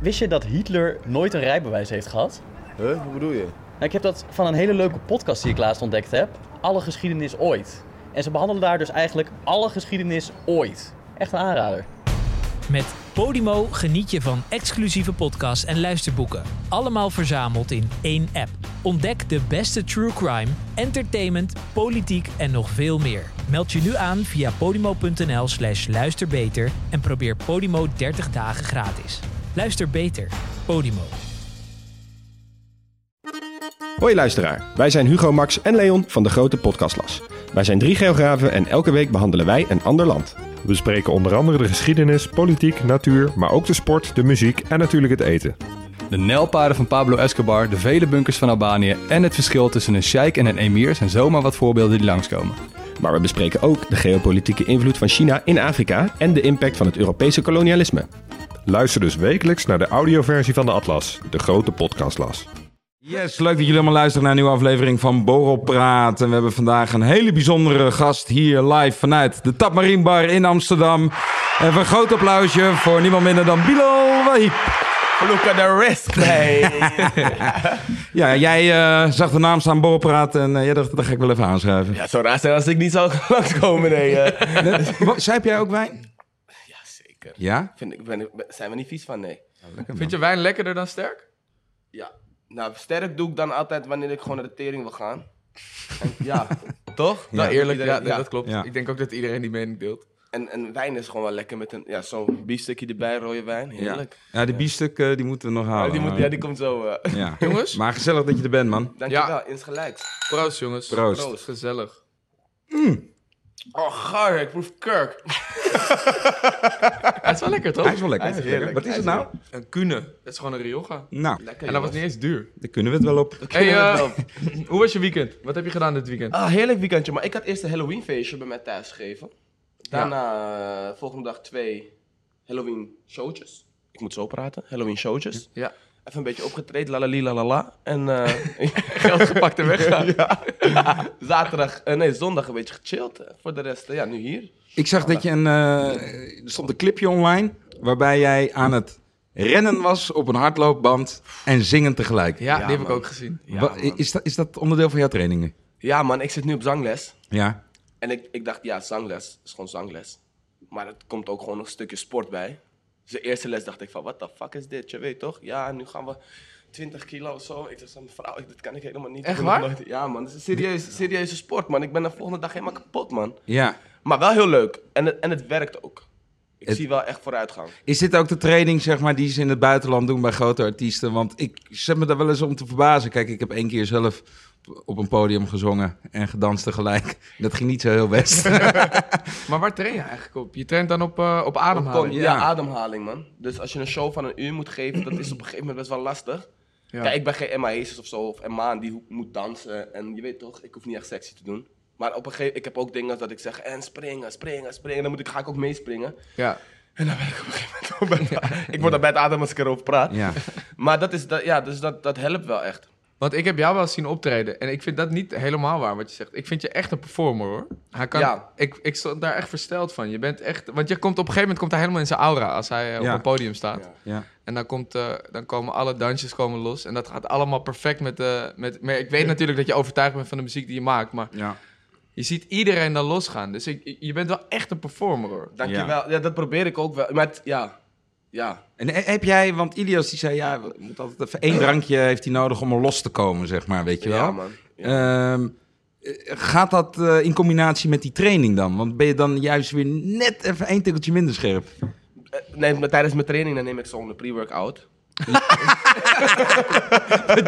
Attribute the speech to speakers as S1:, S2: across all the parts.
S1: Wist je dat Hitler nooit een rijbewijs heeft gehad?
S2: Huh? Hoe bedoel je?
S1: Nou, ik heb dat van een hele leuke podcast die ik laatst ontdekt heb. Alle geschiedenis ooit. En ze behandelen daar dus eigenlijk alle geschiedenis ooit. Echt een aanrader.
S3: Met Podimo geniet je van exclusieve podcasts en luisterboeken. Allemaal verzameld in één app. Ontdek de beste true crime, entertainment, politiek en nog veel meer. Meld je nu aan via podimo.nl slash luisterbeter en probeer Podimo 30 dagen gratis. Luister beter. Podimo.
S4: Hoi luisteraar, wij zijn Hugo, Max en Leon van de Grote Podcastlas. Wij zijn drie geografen en elke week behandelen wij een ander land.
S5: We bespreken onder andere de geschiedenis, politiek, natuur, maar ook de sport, de muziek en natuurlijk het eten.
S6: De nijlpaarden van Pablo Escobar, de vele bunkers van Albanië en het verschil tussen een sheik en een emir zijn zomaar wat voorbeelden die langskomen.
S4: Maar we bespreken ook de geopolitieke invloed van China in Afrika en de impact van het Europese kolonialisme.
S5: Luister dus wekelijks naar de audioversie van de Atlas, de grote podcastlas.
S7: Yes, leuk dat jullie allemaal luisteren naar een nieuwe aflevering van Borrel Praat. En we hebben vandaag een hele bijzondere gast hier live vanuit de Tapmarine Bar in Amsterdam. Even een groot applausje voor niemand minder dan Bilal Wahib.
S2: Look at the risk, hey.
S7: Ja, jij eh, zag de naam staan Borrel Praat en eh, jij dacht, dat ga ik wel even aanschrijven.
S2: ja, het zou raar zijn als ik niet zou langskomen, nee. eh.
S7: Wat, Zijp jij ook wijn?
S2: ja, zeker.
S7: Ja?
S2: Vind ik, ben, ben- zijn we niet vies van, nee.
S8: Vind je wijn lekkerder dan sterk?
S2: Ja. Nou, sterk doe ik dan altijd wanneer ik gewoon naar de tering wil gaan. En, ja, toch?
S8: Ja, nou, eerlijk, ja,
S2: Iedereen-
S8: nee, dat klopt.
S7: Ja.
S8: Ik denk ook dat iedereen die mening deelt.
S2: En, en wijn is gewoon wel lekker met een, ja, zo'n biefstukje erbij, rode wijn. Heerlijk.
S7: Ja, die biefstuk eh, die moeten we nog
S2: Ja,
S7: halen.
S2: die, moet, ja, die komt zo. eh.
S7: Ja.
S8: Jongens?
S7: Maar gezellig dat je er bent, man.
S2: Dankjewel, insgelijks.
S8: Proost, jongens.
S7: Proost.
S8: Gezellig.
S2: Oh, gaar, ik proef kurk.
S8: Het is wel
S7: Hij
S8: lekker, toch?
S7: is wel lekker. Hij is
S2: Hij is
S7: lekker.
S2: heerlijk.
S7: Wat is
S2: Hij
S7: het
S2: is
S7: nou?
S8: Een kune. Dat is gewoon een Rioja.
S7: Nou,
S2: Lekker,
S8: En dat
S2: jongens.
S8: was niet eens duur.
S7: daar kunnen we het wel op.
S8: Hey,
S2: Kunnen we
S8: eh, hoe was je weekend? Wat heb je gedaan dit weekend?
S2: Ah, heerlijk weekendje. Maar ik had eerst een Halloween feestje bij mij thuis gegeven. Daarna eh, volgende dag twee Halloween showtjes. Ik moet zo praten. Halloween showtjes.
S8: Ja.
S2: Even een beetje opgetraind, lalali lalala. En eh,
S8: Geld gepakt en weggaan.
S2: zaterdag, eh, nee, zondag een beetje gechilled. Eh, Voor de rest, eh, ja, nu hier.
S7: Ik zag dat je een. eh, er stond een clipje online. waarbij jij aan het rennen was op een hardloopband. en zingen tegelijk.
S8: Ja, die heb ik
S2: man.
S8: ook gezien.
S2: Ja,
S7: Wa-
S2: man.
S7: is, dat, is dat onderdeel van jouw trainingen?
S2: ja, man, ik zit nu op zangles.
S7: Ja.
S2: En ik, ik dacht, ja, zangles is gewoon zangles. Maar er komt ook gewoon een stukje sport bij. Dus de eerste les dacht ik van, wat the fuck is dit? Je weet toch? Ja, nu gaan we 20 kilo of zo. Ik dacht van, vrouw, ik- dit kan ik helemaal niet.
S8: Echt
S2: Ik ben nog
S8: waar?
S2: nooit- Ja man, het is een serieuze, serieuze sport man. Ik ben de volgende dag helemaal kapot man.
S7: ja.
S2: Maar wel heel leuk. En het, en het werkt ook. Ik
S7: Het-
S2: zie wel echt vooruitgang.
S7: Is dit ook de training, zeg maar, die ze in het buitenland doen bij grote artiesten? Want ik zet me daar wel eens om te verbazen. Kijk, ik heb één keer zelf op een podium gezongen en gedanst tegelijk. Dat ging niet zo heel best.
S8: Maar waar train je eigenlijk op? Je traint dan op, eh, op
S2: Kom,
S8: ademhaling.
S2: ja.
S7: ja.
S2: ademhaling man. Dus als je een show van een uur moet geven, dat is op een gegeven moment best wel lastig.
S8: Ja.
S2: Kijk, ik ben geen Emma Heesters of zo, of Emma die ho- moet dansen. En je weet toch, ik hoef niet echt sexy te doen. Maar op een gegeven ik heb ook dingen als dat ik zeg, en springen, springen, springen. Dan moet ik, ga ik ook meespringen.
S8: Ja.
S2: En dan ben ik op een gegeven moment ook bij Ik word er bij het adem als ik erover praat.
S7: ja.
S2: Maar dat, is, dat, ja, dus dat, dat helpt wel echt.
S8: Want ik heb jou wel eens zien optreden. En ik vind dat niet helemaal waar wat je zegt. Ik vind je echt een performer hoor. Hij kan,
S2: Ja.
S8: ik, ik stond daar echt versteld van. Je bent echt. Want je komt op een gegeven moment komt hij helemaal in zijn aura als hij eh,
S7: Ja.
S8: op een podium staat.
S2: Ja.
S7: ja.
S8: En dan, komt, eh, dan komen alle dansjes komen los. En dat gaat allemaal perfect met, de met... Maar ik weet natuurlijk dat je overtuigd bent van de muziek die je maakt. Maar
S7: ja.
S8: je ziet iedereen dan losgaan. Dus ik, je bent wel echt een performer hoor.
S2: Dankjewel. Ja. dat probeer ik ook wel. Maar het- ja, ja.
S7: En he- heb jij, want Ilias die zei, ja, we moeten altijd even één drankje heeft hij nodig om er los te komen, zeg maar, weet je wel.
S2: Ja, man. Ja.
S7: Ehm, eh, gaat dat eh, in combinatie met die training dan? Want ben je dan juist weer net even één tikkeltje minder scherp?
S2: Eh, Nee, maar tijdens mijn training dan neem ik zo'n pre-workout.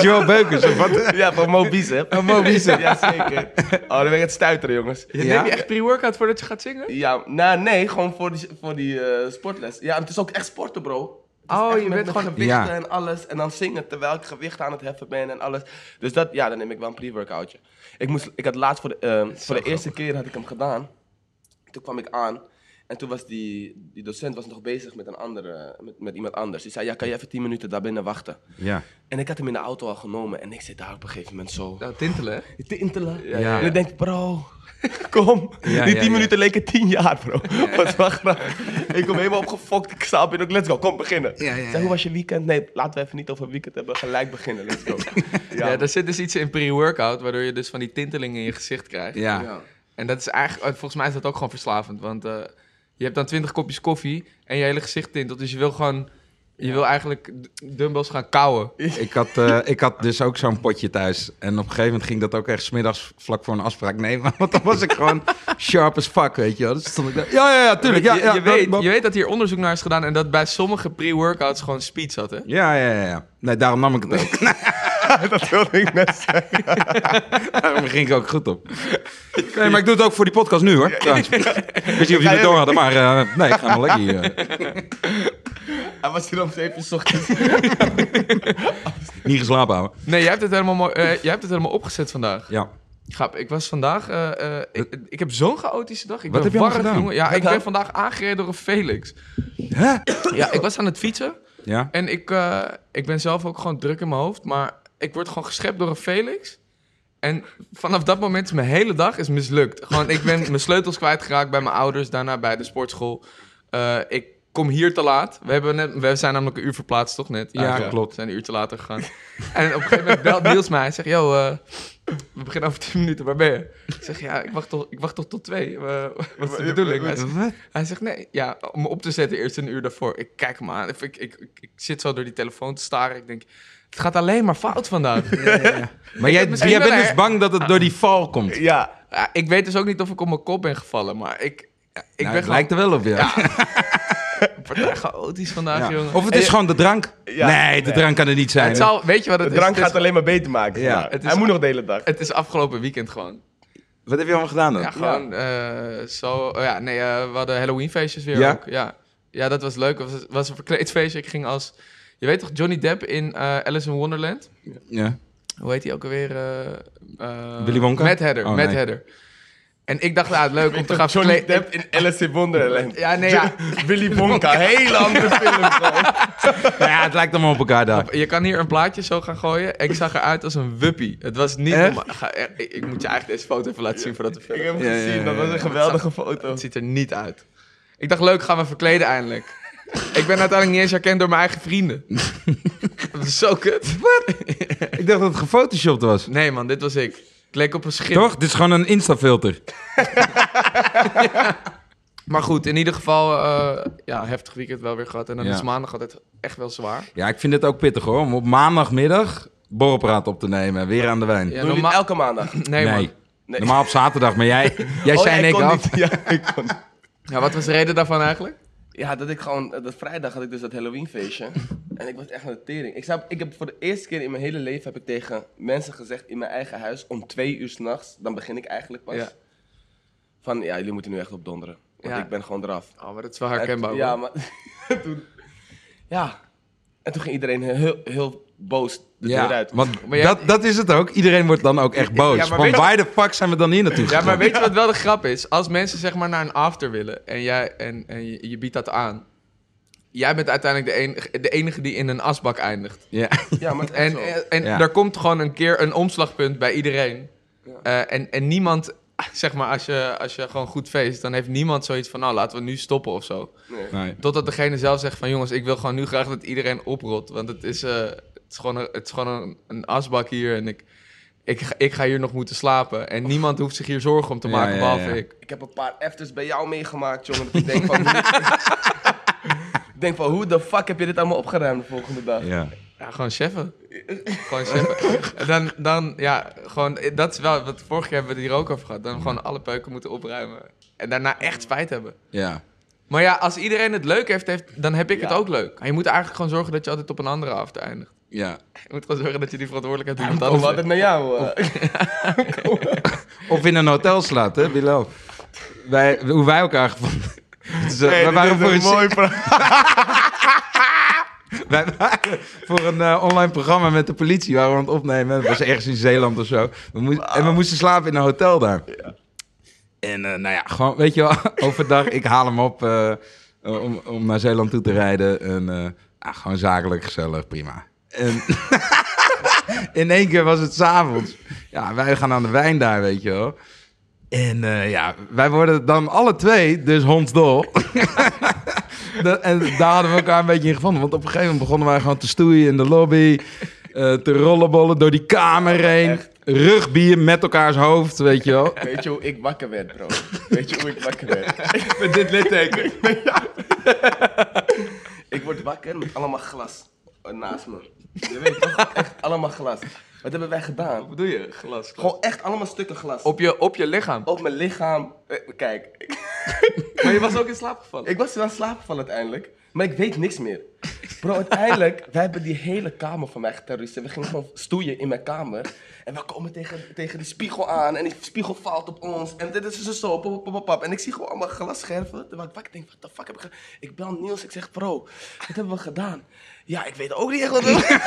S7: Joe Eh, Beukers of wat?
S2: Ja, van Mo Bicep.
S7: Oh,
S2: Van Mo Ja, zeker. Oh, dan ben ik het stuiteren, jongens.
S8: Je
S7: Ja.
S8: Neem je echt pre-workout voordat je gaat zingen?
S2: Ja, nou nee, gewoon voor die, voor die eh, sportles. Ja, het is ook echt sporten, bro. Het is
S8: Oh,
S2: echt
S8: je
S2: met-
S8: bent
S2: met
S8: gewoon-
S2: gewichten
S7: Ja.
S2: en alles. En dan zingen terwijl ik gewicht aan het heffen ben en alles. Dus dat, ja, dan neem ik wel een pre-workoutje. eh, Ik, moest, ik had laatst voor de, ehm, voor de eerste keer had ik hem gedaan. Toen kwam ik aan. En En toen was die, die docent was nog bezig met, een andere, met, met iemand anders. Die zei, ja, kan je even tien minuten daar binnen wachten?
S7: Ja.
S2: En ik had hem in de auto al genomen en ik zit daar op een gegeven moment zo
S8: Nou, tintelen. hè?
S2: tintelen.
S7: ja.
S2: En ik denk, bro, kom.
S7: Ja,
S2: die
S7: ja,
S2: tien
S7: ja.
S2: minuten leken tien jaar, bro. Wat wel grappig. Ik kom helemaal opgefokt, ik slaap in, ook let's go, kom beginnen. Zeg, hoe was je weekend? Nee, laten we even niet over weekend hebben, gelijk beginnen, let's go.
S8: Ja, daar zit dus iets in pre-workout, waardoor je dus van die tintelingen in je gezicht krijgt.
S7: Ja.
S8: En dat is eigenlijk, eh, volgens mij is dat ook gewoon verslavend, want eh, je hebt dan 20 kopjes koffie en je hele gezicht tintelt, dus je wil gewoon, je wil eigenlijk d- dumbbells gaan kauwen.
S7: Ik, had, eh, ik had dus ook zo'n potje thuis. En op een gegeven moment ging dat ook echt smiddags vlak voor een afspraak nemen. Want dan was ik gewoon sharp as fuck, weet je wel. Dus stond ik daar, ja, ja, ja, tuurlijk. Ja,
S8: je,
S7: ja,
S8: je,
S7: dat-
S8: weet,
S7: dat-
S8: je weet dat hier onderzoek naar is gedaan en dat bij sommige pre-workouts gewoon speed zat, hè?
S7: Ja, ja, ja, ja. Nee, daarom nam ik het ook.
S2: dat wilde ik net zeggen.
S7: Daarom ging ik ook goed op. Nee, maar ik doe het ook voor die podcast nu, hoor. Trouwens. Ik wist niet of jullie het door hadden, maar eh, nee, ik ga maar lekker hier. eh,
S2: Hij was hier om zeven uur 's ochtends.
S7: niet geslapen houden.
S8: Nee, jij hebt het helemaal, mooi, eh, jij hebt het helemaal opgezet vandaag.
S7: Ja.
S8: Grap, ik was vandaag, eh, eh, ik, ik heb zo'n chaotische dag. Ik
S7: Wat
S8: ben
S7: heb je allemaal
S8: warrig,
S7: gedaan?
S8: jongen. Ja, ik ben vandaag aangereden door een Felix.
S7: Hè?
S8: Ja, ik was aan het fietsen.
S7: Ja.
S8: En ik, eh, ik ben zelf ook gewoon druk in mijn hoofd. Maar ik word gewoon geschept door een Felix. En vanaf dat moment is mijn hele dag is mislukt. Gewoon, ik ben mijn sleutels kwijtgeraakt bij mijn ouders. Daarna bij de sportschool. Eh, ik kom hier te laat. We, hebben net, we zijn namelijk een uur verplaatst, toch net?
S7: Ja, klopt.
S8: We zijn een uur te later gegaan. en op een gegeven moment belt Niels mij. Hij zegt, yo, eh, we beginnen over 10 minuten. Waar ben je? Ik zeg, ja, ik wacht toch, ik wacht toch tot twee. Eh, wat is de bedoeling? Hij zegt, hij zegt, nee, ja, om me op te zetten eerst een uur daarvoor. Ik kijk hem aan. Ik, ik, ik, ik zit zo door die telefoon te staren. Ik denk, het gaat alleen maar fout vandaag.
S7: Maar jij,
S8: misschien
S7: jij
S8: wel
S7: bent
S8: een-
S7: dus bang dat het door die val komt.
S2: Ja,
S8: Ja, ik weet dus ook niet of ik op mijn kop ben gevallen, maar ik, ik
S7: Nou,
S8: ben
S7: het lijkt er wel op, ja.
S8: gewoon partij chaotisch vandaag,
S7: Ja.
S8: jongen.
S7: Of het is gewoon de drank.
S2: Ja.
S7: nee, de drank kan er niet zijn.
S8: het zal, weet je wat het
S2: de
S8: is?
S2: drank
S8: het,
S2: gaat
S8: is,
S2: alleen maar beter maken.
S7: Ja,
S2: vandaag.
S8: het is-
S2: Hij moet nog de hele dag.
S8: het is afgelopen weekend gewoon.
S7: Wat heb je allemaal gedaan dan?
S8: Ja, gewoon eh, zo... oh ja, nee, eh, we hadden Halloween-feestjes weer
S7: Ja?
S8: ook. Ja. ja, dat was leuk. Het was, was een verkleedfeestje. Ik ging als... Je weet toch Johnny Depp in eh, Alice in Wonderland?
S7: Ja.
S8: hoe heet hij ook alweer? eh eh,
S7: Willy Wonka?
S8: Mad Hatter,
S7: Oh,
S8: Mad
S7: nee.
S8: Hatter. En ik dacht, ah, leuk om te gaan
S2: Johnny
S8: verkleed-
S2: Depp in Alice in Wonderland.
S8: Ja, nee, ja.
S2: Willy Wonka, hele andere film. gewoon.
S7: Nou ja, het lijkt allemaal op elkaar daar.
S8: Je kan hier een plaatje zo gaan gooien. Ik zag eruit als een wuppie. Het was niet...
S7: Echt?
S8: normaal. Ga- eh, ik, ik moet je eigenlijk deze foto even laten zien voordat we
S2: Ik
S8: verder
S2: heb hem
S7: Ja, ja, ja,
S2: gezien, dat was een
S7: ja.
S2: geweldige foto.
S8: Het ziet er niet uit. Ik dacht, leuk, gaan we verkleden eindelijk. ik ben uiteindelijk niet eens herkend door mijn eigen vrienden. dat is zo kut.
S7: Ik dacht dat het gefotoshopt was.
S8: Nee man, dit was ik. Ik leek op een schip.
S7: Toch? Dit is gewoon een Insta-filter.
S8: Maar goed, in ieder geval, eh, ja, heftig weekend wel weer gehad. En dan
S7: Ja.
S8: is maandag altijd echt wel zwaar.
S7: Ja, ik vind het ook pittig hoor. Om op maandagmiddag borrelpraat op te nemen. Weer aan de wijn.
S8: Ja,
S2: Doen jullie het
S8: normaal-
S2: elke maandag?
S8: Nee, man.
S7: Nee. Normaal op zaterdag, maar jij, jij
S2: Oh,
S7: zei
S2: ja,
S7: en ik
S2: kon
S7: af.
S2: niet. Ja, ik kon niet.
S8: Ja, wat was de reden daarvan eigenlijk?
S2: Ja, dat ik gewoon, eh, dat vrijdag had ik dus dat Halloweenfeestje. en ik was echt aan de tering. Ik, snap, ik heb voor de eerste keer in mijn hele leven heb ik tegen mensen gezegd in mijn eigen huis om twee uur s'nachts, dan begin ik eigenlijk pas.
S8: Ja.
S2: Van ja, jullie moeten nu echt op donderen. Want
S8: Ja.
S2: ik ben gewoon eraf.
S8: Oh, maar dat is wel
S2: En-
S8: herkenbaar.
S2: Ja,
S8: hoor.
S2: maar toen, ja. En toen ging iedereen heel, heel boos de deur
S7: Ja,
S2: uit.
S7: want
S8: Maar jij-
S7: dat, dat is het ook. Iedereen wordt dan ook echt boos.
S8: Ja, maar
S7: Van
S8: weet-
S7: waar de fuck zijn we dan hier naartoe
S8: ja,
S7: gegaan?
S8: maar weet je wat wel de grap is? Als mensen zeg maar naar een after willen en, jij, en, en je, je biedt dat aan. Jij bent uiteindelijk de enige, de enige die in een asbak eindigt.
S7: Ja.
S2: ja, maar het is
S8: En,
S2: zo.
S8: en, en
S7: Ja.
S8: er komt gewoon een keer een omslagpunt bij iedereen. Eh, en, en niemand, zeg maar, als je, als je gewoon goed feest, dan heeft niemand zoiets van, nou laten we nu stoppen of zo.
S7: Nee.
S8: Totdat degene zelf zegt van jongens, ik wil gewoon nu graag dat iedereen oprot. Want het is, eh, het is gewoon, een, het is gewoon een, een asbak hier en ik, ik, ga- ik ga hier nog moeten slapen. En niemand hoeft zich hier zorgen om te
S7: Ja,
S8: maken,
S7: ja,
S8: behalve
S7: ja.
S8: ik.
S2: Ik heb een paar afters bij jou meegemaakt, jongen. Dat ik denk van... ik denk van, hoe de fuck heb je dit allemaal opgeruimd de volgende dag?
S7: Ja.
S8: Ja, gewoon cheffen. gewoon cheffen. En dan, dan, ja, gewoon, eh, dat is wel, wat vorige keer hebben we het hier ook over gehad. Dan gewoon alle peuken moeten opruimen. En daarna echt spijt hebben.
S7: ja.
S8: Maar ja, als iedereen het leuk heeft, heeft dan heb ik het ook leuk. Maar je moet eigenlijk gewoon zorgen dat je altijd op een andere avond eindigt.
S7: Ja.
S8: Je moet gewoon zorgen dat je die verantwoordelijkheid doet.
S2: Kom altijd naar jou. eh.
S7: Of in een hotel slaat, hè, Bilal. Wij, hoe wij elkaar gevonden. Dus, eh, wij waren voor een mooi Wij waren voor een eh, online programma met de politie. Waren we aan het opnemen. Dat was ergens in Zeeland of zo. We moest- En we moesten slapen in een hotel daar. En eh, nou ja, gewoon, weet je wel, overdag, ik haal hem op eh, om, om naar Zeeland toe te rijden. En eh, ah, gewoon zakelijk, gezellig, prima. En in één keer was het s'avonds. Ja, wij gaan aan de wijn daar, weet je wel. En eh, ja, wij worden dan alle twee dus hondsdol. Dat- en daar hadden we elkaar een beetje in gevonden. Want op een gegeven moment begonnen wij gewoon te stoeien in de lobby. eh, te rollenbollen door die kamer heen. Rugbier met elkaars hoofd, weet je wel.
S2: Weet je hoe ik wakker werd, bro? Weet je hoe ik wakker werd?
S7: Met dit litteken.
S2: Ik word wakker met allemaal glas eh, naast me. Je weet toch? Echt allemaal glas. Wat hebben wij gedaan?
S8: Wat doe je? Glas.
S2: Gewoon echt allemaal stukken glas. Op,
S8: Op je, op je lichaam.
S2: op mijn lichaam. Eh, Kijk, ik,
S8: Maar je was ook in slaap gevallen.
S2: ik was aan het slapen van uiteindelijk. Maar ik weet niks meer. Bro, uiteindelijk, wij hebben die hele kamer van mij geterroriseerd. We gingen gewoon stoeien in mijn kamer. En we komen tegen, tegen die spiegel aan. En die spiegel valt op ons. En dit is dus zo, pop, pop, pop, pop. En ik zie gewoon allemaal glasscherven. Terwijl ik wakker denk, wat de fuck heb ik gedaan? Ik bel Niels, ik zeg, bro, wat hebben we gedaan? Ja, ik weet ook niet echt wat we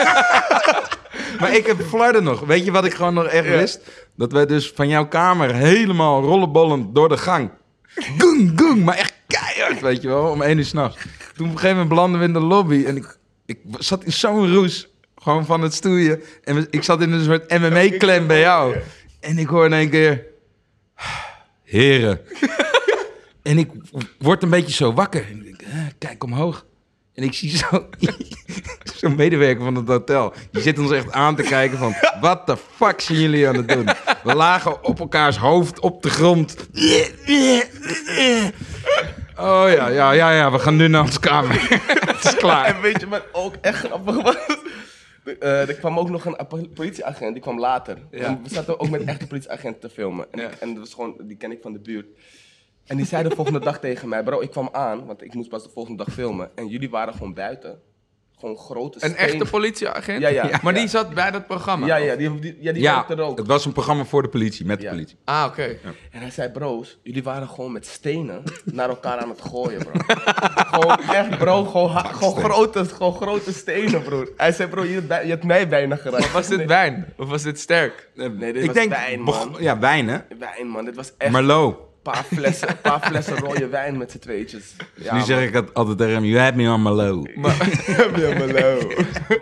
S7: Maar ik heb flarden nog. Weet je wat ik gewoon nog echt wist? Dat wij dus van jouw kamer helemaal rollenbollend door de gang. Goeng, goeng, maar echt keihard, weet je wel, om één uur s'nachts. Toen op een gegeven moment belanden we in de lobby en ik, ik zat in zo'n roes, gewoon van het stoeien. En we- ik zat in een soort MMA-klem bij jou. En ik hoor in één keer, heren. en ik word een beetje zo wakker. En ik denk, eh, kijk omhoog. En ik zie zo- zo'n medewerker van het hotel. Die zit ons echt aan te kijken van... Wat de fuck zijn jullie aan het doen? We lagen op elkaars hoofd op de grond. Oh ja, ja, ja, ja. We gaan nu naar onze kamer. Het is klaar.
S2: En weet je wat ook echt grappig was? De- eh, er kwam ook nog een apo- politieagent, die kwam later. En we zaten ook met echte politieagenten te filmen. En, ik- en dat was gewoon, die ken ik van de buurt. En die zei de volgende dag tegen mij, bro, ik kwam aan, want ik moest pas de volgende dag filmen. En jullie waren gewoon buiten. Gewoon grote
S8: Een
S2: steen-
S8: echte politieagent?
S2: Ja, ja.
S8: Maar
S2: Ja.
S8: die zat bij dat programma?
S2: Ja, ja, die, die, ja, die
S7: Ja,
S2: ja, er ook.
S7: het was een programma voor de politie, met de
S2: Ja.
S7: politie.
S8: Ah, oké.
S2: En hij zei, bro's, jullie waren gewoon met stenen naar elkaar aan het gooien, bro. gewoon echt, bro, gewoon, ha- gewoon, grote, gewoon grote stenen, broer. Hij zei, bro, je, hebt bij- je hebt mij bijna geraakt.
S8: Was dit wijn? Of was dit sterk?
S2: Nee, dit
S7: ik
S2: was
S7: denk,
S2: wijn,
S7: beg-
S2: man.
S7: Ja, wijn, hè?
S2: Wijn, man. Dit was echt een
S7: Merlot.
S2: paar flessen, een paar flessen rode wijn met z'n tweetjes.
S8: Dus
S2: Ja,
S7: nu zeg ik dat altijd tegen hem. You had me on Merlot.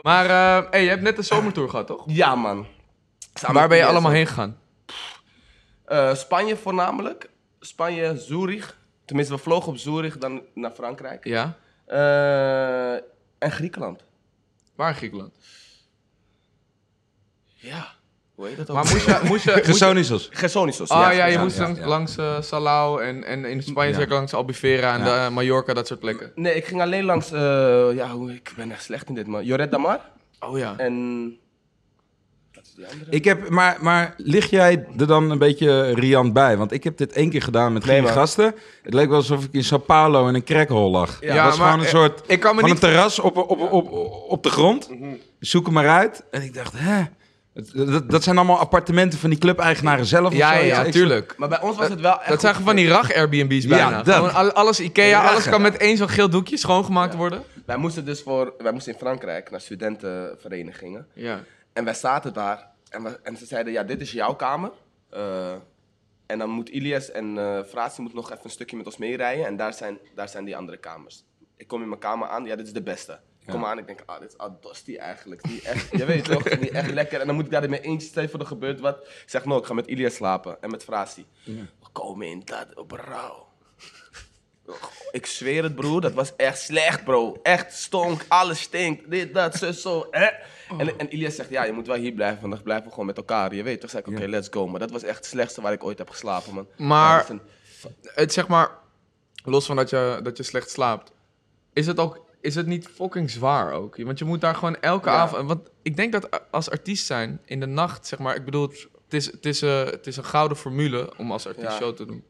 S8: Maar eh hey, je hebt net een zomertour gehad, toch?
S2: man. Ja, man. Samen
S8: Waar ben je
S2: met
S8: allemaal
S2: Yes,
S8: heen gegaan?
S2: Eh, Spanje voornamelijk. Spanje, Zurich. Tenminste, we vlogen op Zurich, dan naar Frankrijk.
S8: Ja.
S2: Eh, en Griekenland.
S8: Waar in Griekenland?
S2: Ja. Hoe heet dat ook?
S8: Maar moest je... Moest je, moest je-
S7: Gersonisos.
S2: Gersonisos.
S8: Ah ja, je
S7: ja,
S8: moest
S7: ja,
S8: langs,
S7: ja.
S8: langs eh, Salau en, en in Spanje
S7: Ja.
S8: zeker langs Albufeira en
S7: Ja.
S8: de, eh, Mallorca, dat soort plekken.
S2: Nee, ik ging alleen langs... eh, ja, hoe- ik ben echt slecht in dit, man. Joret Damar.
S8: Oh ja.
S2: En... Wat is die andere?
S7: Ik heb, maar, maar lig jij er dan een beetje eh, riant bij? Want ik heb dit één keer gedaan met
S2: Nee,
S7: geen
S2: man.
S7: gasten. Het leek wel alsof ik in Sao Paulo in een crackhol lag. Ja,
S8: Ja,
S7: was
S8: maar,
S7: gewoon een
S8: eh,
S7: soort
S8: ik kan me
S7: van
S8: niet- Mhm.
S7: een terras op, op, op, op, op de grond. Zoek hem maar uit. En ik dacht, hè? Het- Dat, dat zijn allemaal appartementen van die clubeigenaren zelf. of
S8: Ja,
S7: zo.
S8: ja,
S7: ik-
S8: tuurlijk.
S2: Maar bij ons was het wel echt...
S8: Eh, Dat zijn gewoon van die rag-Airbnb's bijna.
S7: Ja, dat.
S8: Gewoon al- alles Ikea,
S7: Raggen.
S8: alles kan met één zo'n geel doekje schoongemaakt worden.
S2: Wij moesten dus voor... Wij moesten in Frankrijk naar studentenverenigingen.
S8: Ja.
S2: En wij zaten daar en, we- en ze zeiden, ja, dit is jouw kamer. Eh, en dan moet Ilias en eh Fratie moet nog even een stukje met ons meerijden. En daar zijn, daar zijn die andere kamers. Ik kom in mijn kamer aan, ja, dit is de beste. Ik kom aan, ik denk, ah, dit is Adosti eigenlijk. Niet echt, je weet toch, niet echt lekker. En dan moet ik daar in mijn eentje stijf voor er gebeurt wat. Ik zeg, no, ik ga met Ilias slapen en met Fratie. We komen in dat, bro. Ik zweer het, broer. Dat was echt slecht, bro. Echt stonk. Alles stinkt. Dit, dat, zo, zo. Hè? En, en Ilias zegt, ja, je moet wel hier blijven. Want dan blijven we gewoon met elkaar. Je weet toch? Zeg ik, oké, let's go. Maar dat was echt het slechtste waar ik ooit heb geslapen, man.
S8: Maar-
S2: Ja, dat is een-
S8: Het zeg maar, los van dat je, dat je slecht slaapt, is het ook, is het niet fucking zwaar ook? Want je moet daar gewoon elke
S2: Ja.
S8: avond, want ik denk dat a- als artiest zijn in de nacht, zeg maar, ik bedoel, het is, het is, eh, het is een gouden formule om als artiest
S2: Ja.
S8: show te doen.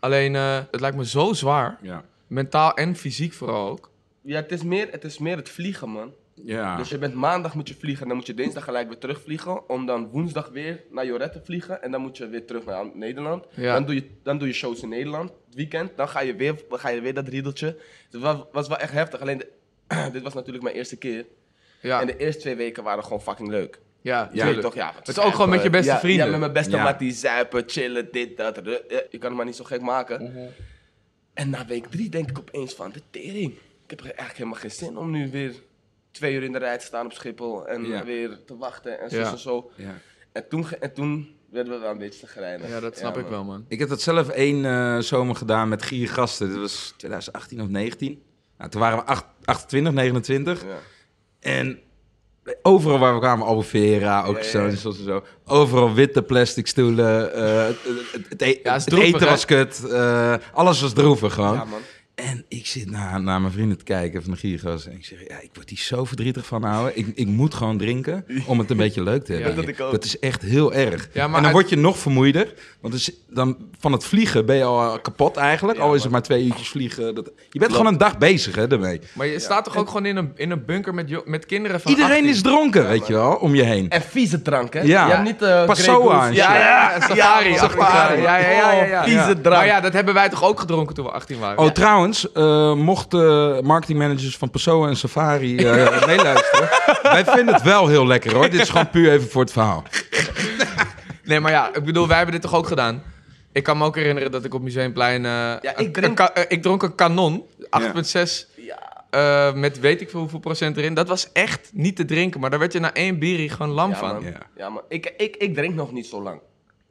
S8: Alleen, eh, het lijkt me zo zwaar,
S7: Ja.
S8: mentaal en fysiek vooral ook.
S2: ja, het is, meer, het is meer het vliegen, man.
S7: Ja.
S2: Dus je bent maandag moet je vliegen. En dan moet je dinsdag gelijk weer terugvliegen. Om dan woensdag weer naar Jorette te vliegen. En dan moet je weer terug naar Nederland.
S8: Ja.
S2: Dan, doe je, dan doe je shows in Nederland. Het weekend. Dan ga je weer, dan ga je weer dat riedeltje. Het was, was wel echt heftig. Alleen, de- dit was natuurlijk mijn eerste keer.
S8: Ja,
S2: En de eerste twee weken waren gewoon fucking leuk.
S8: Ja,
S2: Ja,
S8: tuurlijk.
S2: toch? Ja, wat
S8: Het is ook gewoon met
S2: zuipen.
S8: je beste
S2: Ja,
S8: vrienden.
S2: Ja, met mijn beste
S7: Ja.
S2: maat die zuipen, chillen, dit, dat. ru- ja, Je kan het maar niet zo gek maken.
S8: Mhm.
S2: En na week drie denk ik opeens van, de tering. Ik heb eigenlijk helemaal geen zin om nu weer twee uur in de rij te staan op Schiphol. En
S7: Ja.
S2: weer te wachten en zo
S8: Ja.
S2: en zo.
S7: Ja.
S2: En toen, ge- en toen werden we wel een beetje te
S8: Ja, dat snap ik wel, man.
S7: Ik heb dat zelf één eh, zomer gedaan met gier gasten. Dat was 2018 of 19. Nou, toen waren we acht- 28, 29.
S2: Ja.
S7: En overal waar we kwamen, Albufera, ook
S2: Ja, ja,
S7: zo,
S2: ja.
S7: en zo, en zo. Overal witte plastic stoelen. eh, het, het- het e-
S8: Ja, is
S7: het
S8: droevig,
S7: eten
S8: hè?
S7: was kut. eh, alles was droevig gewoon.
S2: Ja, man.
S7: En ik zit naar, naar mijn vrienden te kijken van de giergas. En ik zeg, ja, ik word hier zo verdrietig van houden. Ik, ik moet gewoon drinken om het een beetje leuk te hebben.
S2: dat ik ook.
S7: dat is echt heel erg.
S8: Ja, maar
S7: en dan
S8: uit-
S7: word je nog vermoeider. Want dus dan, van het vliegen ben je al eh, kapot eigenlijk. al is het maar twee uurtjes vliegen. Dat, je bent gewoon een dag bezig hè, daarmee.
S8: Maar je staat toch ook gewoon in een, in een bunker met, jo- met kinderen van
S7: Iedereen
S8: 18?
S7: is dronken, weet je wel, om je heen.
S2: En vieze drank, hè?
S7: Ja.
S2: Je hebt niet... eh,
S7: Passoa
S2: Grey Goose.
S7: en
S2: Ja,
S7: shit.
S2: ja,
S8: Ja, safari. safari. Ja, ja, ja. ja, ja.
S2: Oh, vieze drank.
S8: Maar ja, dat hebben wij toch ook gedronken toen we 18 waren?
S7: Oh, trouwens, eh, mochten marketingmanagers van Persoon en Safari eh, meeluisteren... wij vinden het wel heel lekker, hoor. Dit is gewoon puur even voor het verhaal.
S8: Nee, maar ja, ik bedoel, wij hebben dit toch ook gedaan? Ik kan me ook herinneren dat ik op Museumplein... eh,
S2: ik
S8: een-
S2: drink-
S8: een ka- eh, ik dronk een kanon, 8,6...
S2: Ja.
S8: eh, met weet ik veel hoeveel procent erin. Dat was echt niet te drinken, maar daar werd je na één bierie gewoon lam
S2: Ja,
S8: van.
S2: man.
S7: Ja.
S2: Ja, man. Ik, ik, ik drink nog niet zo lang.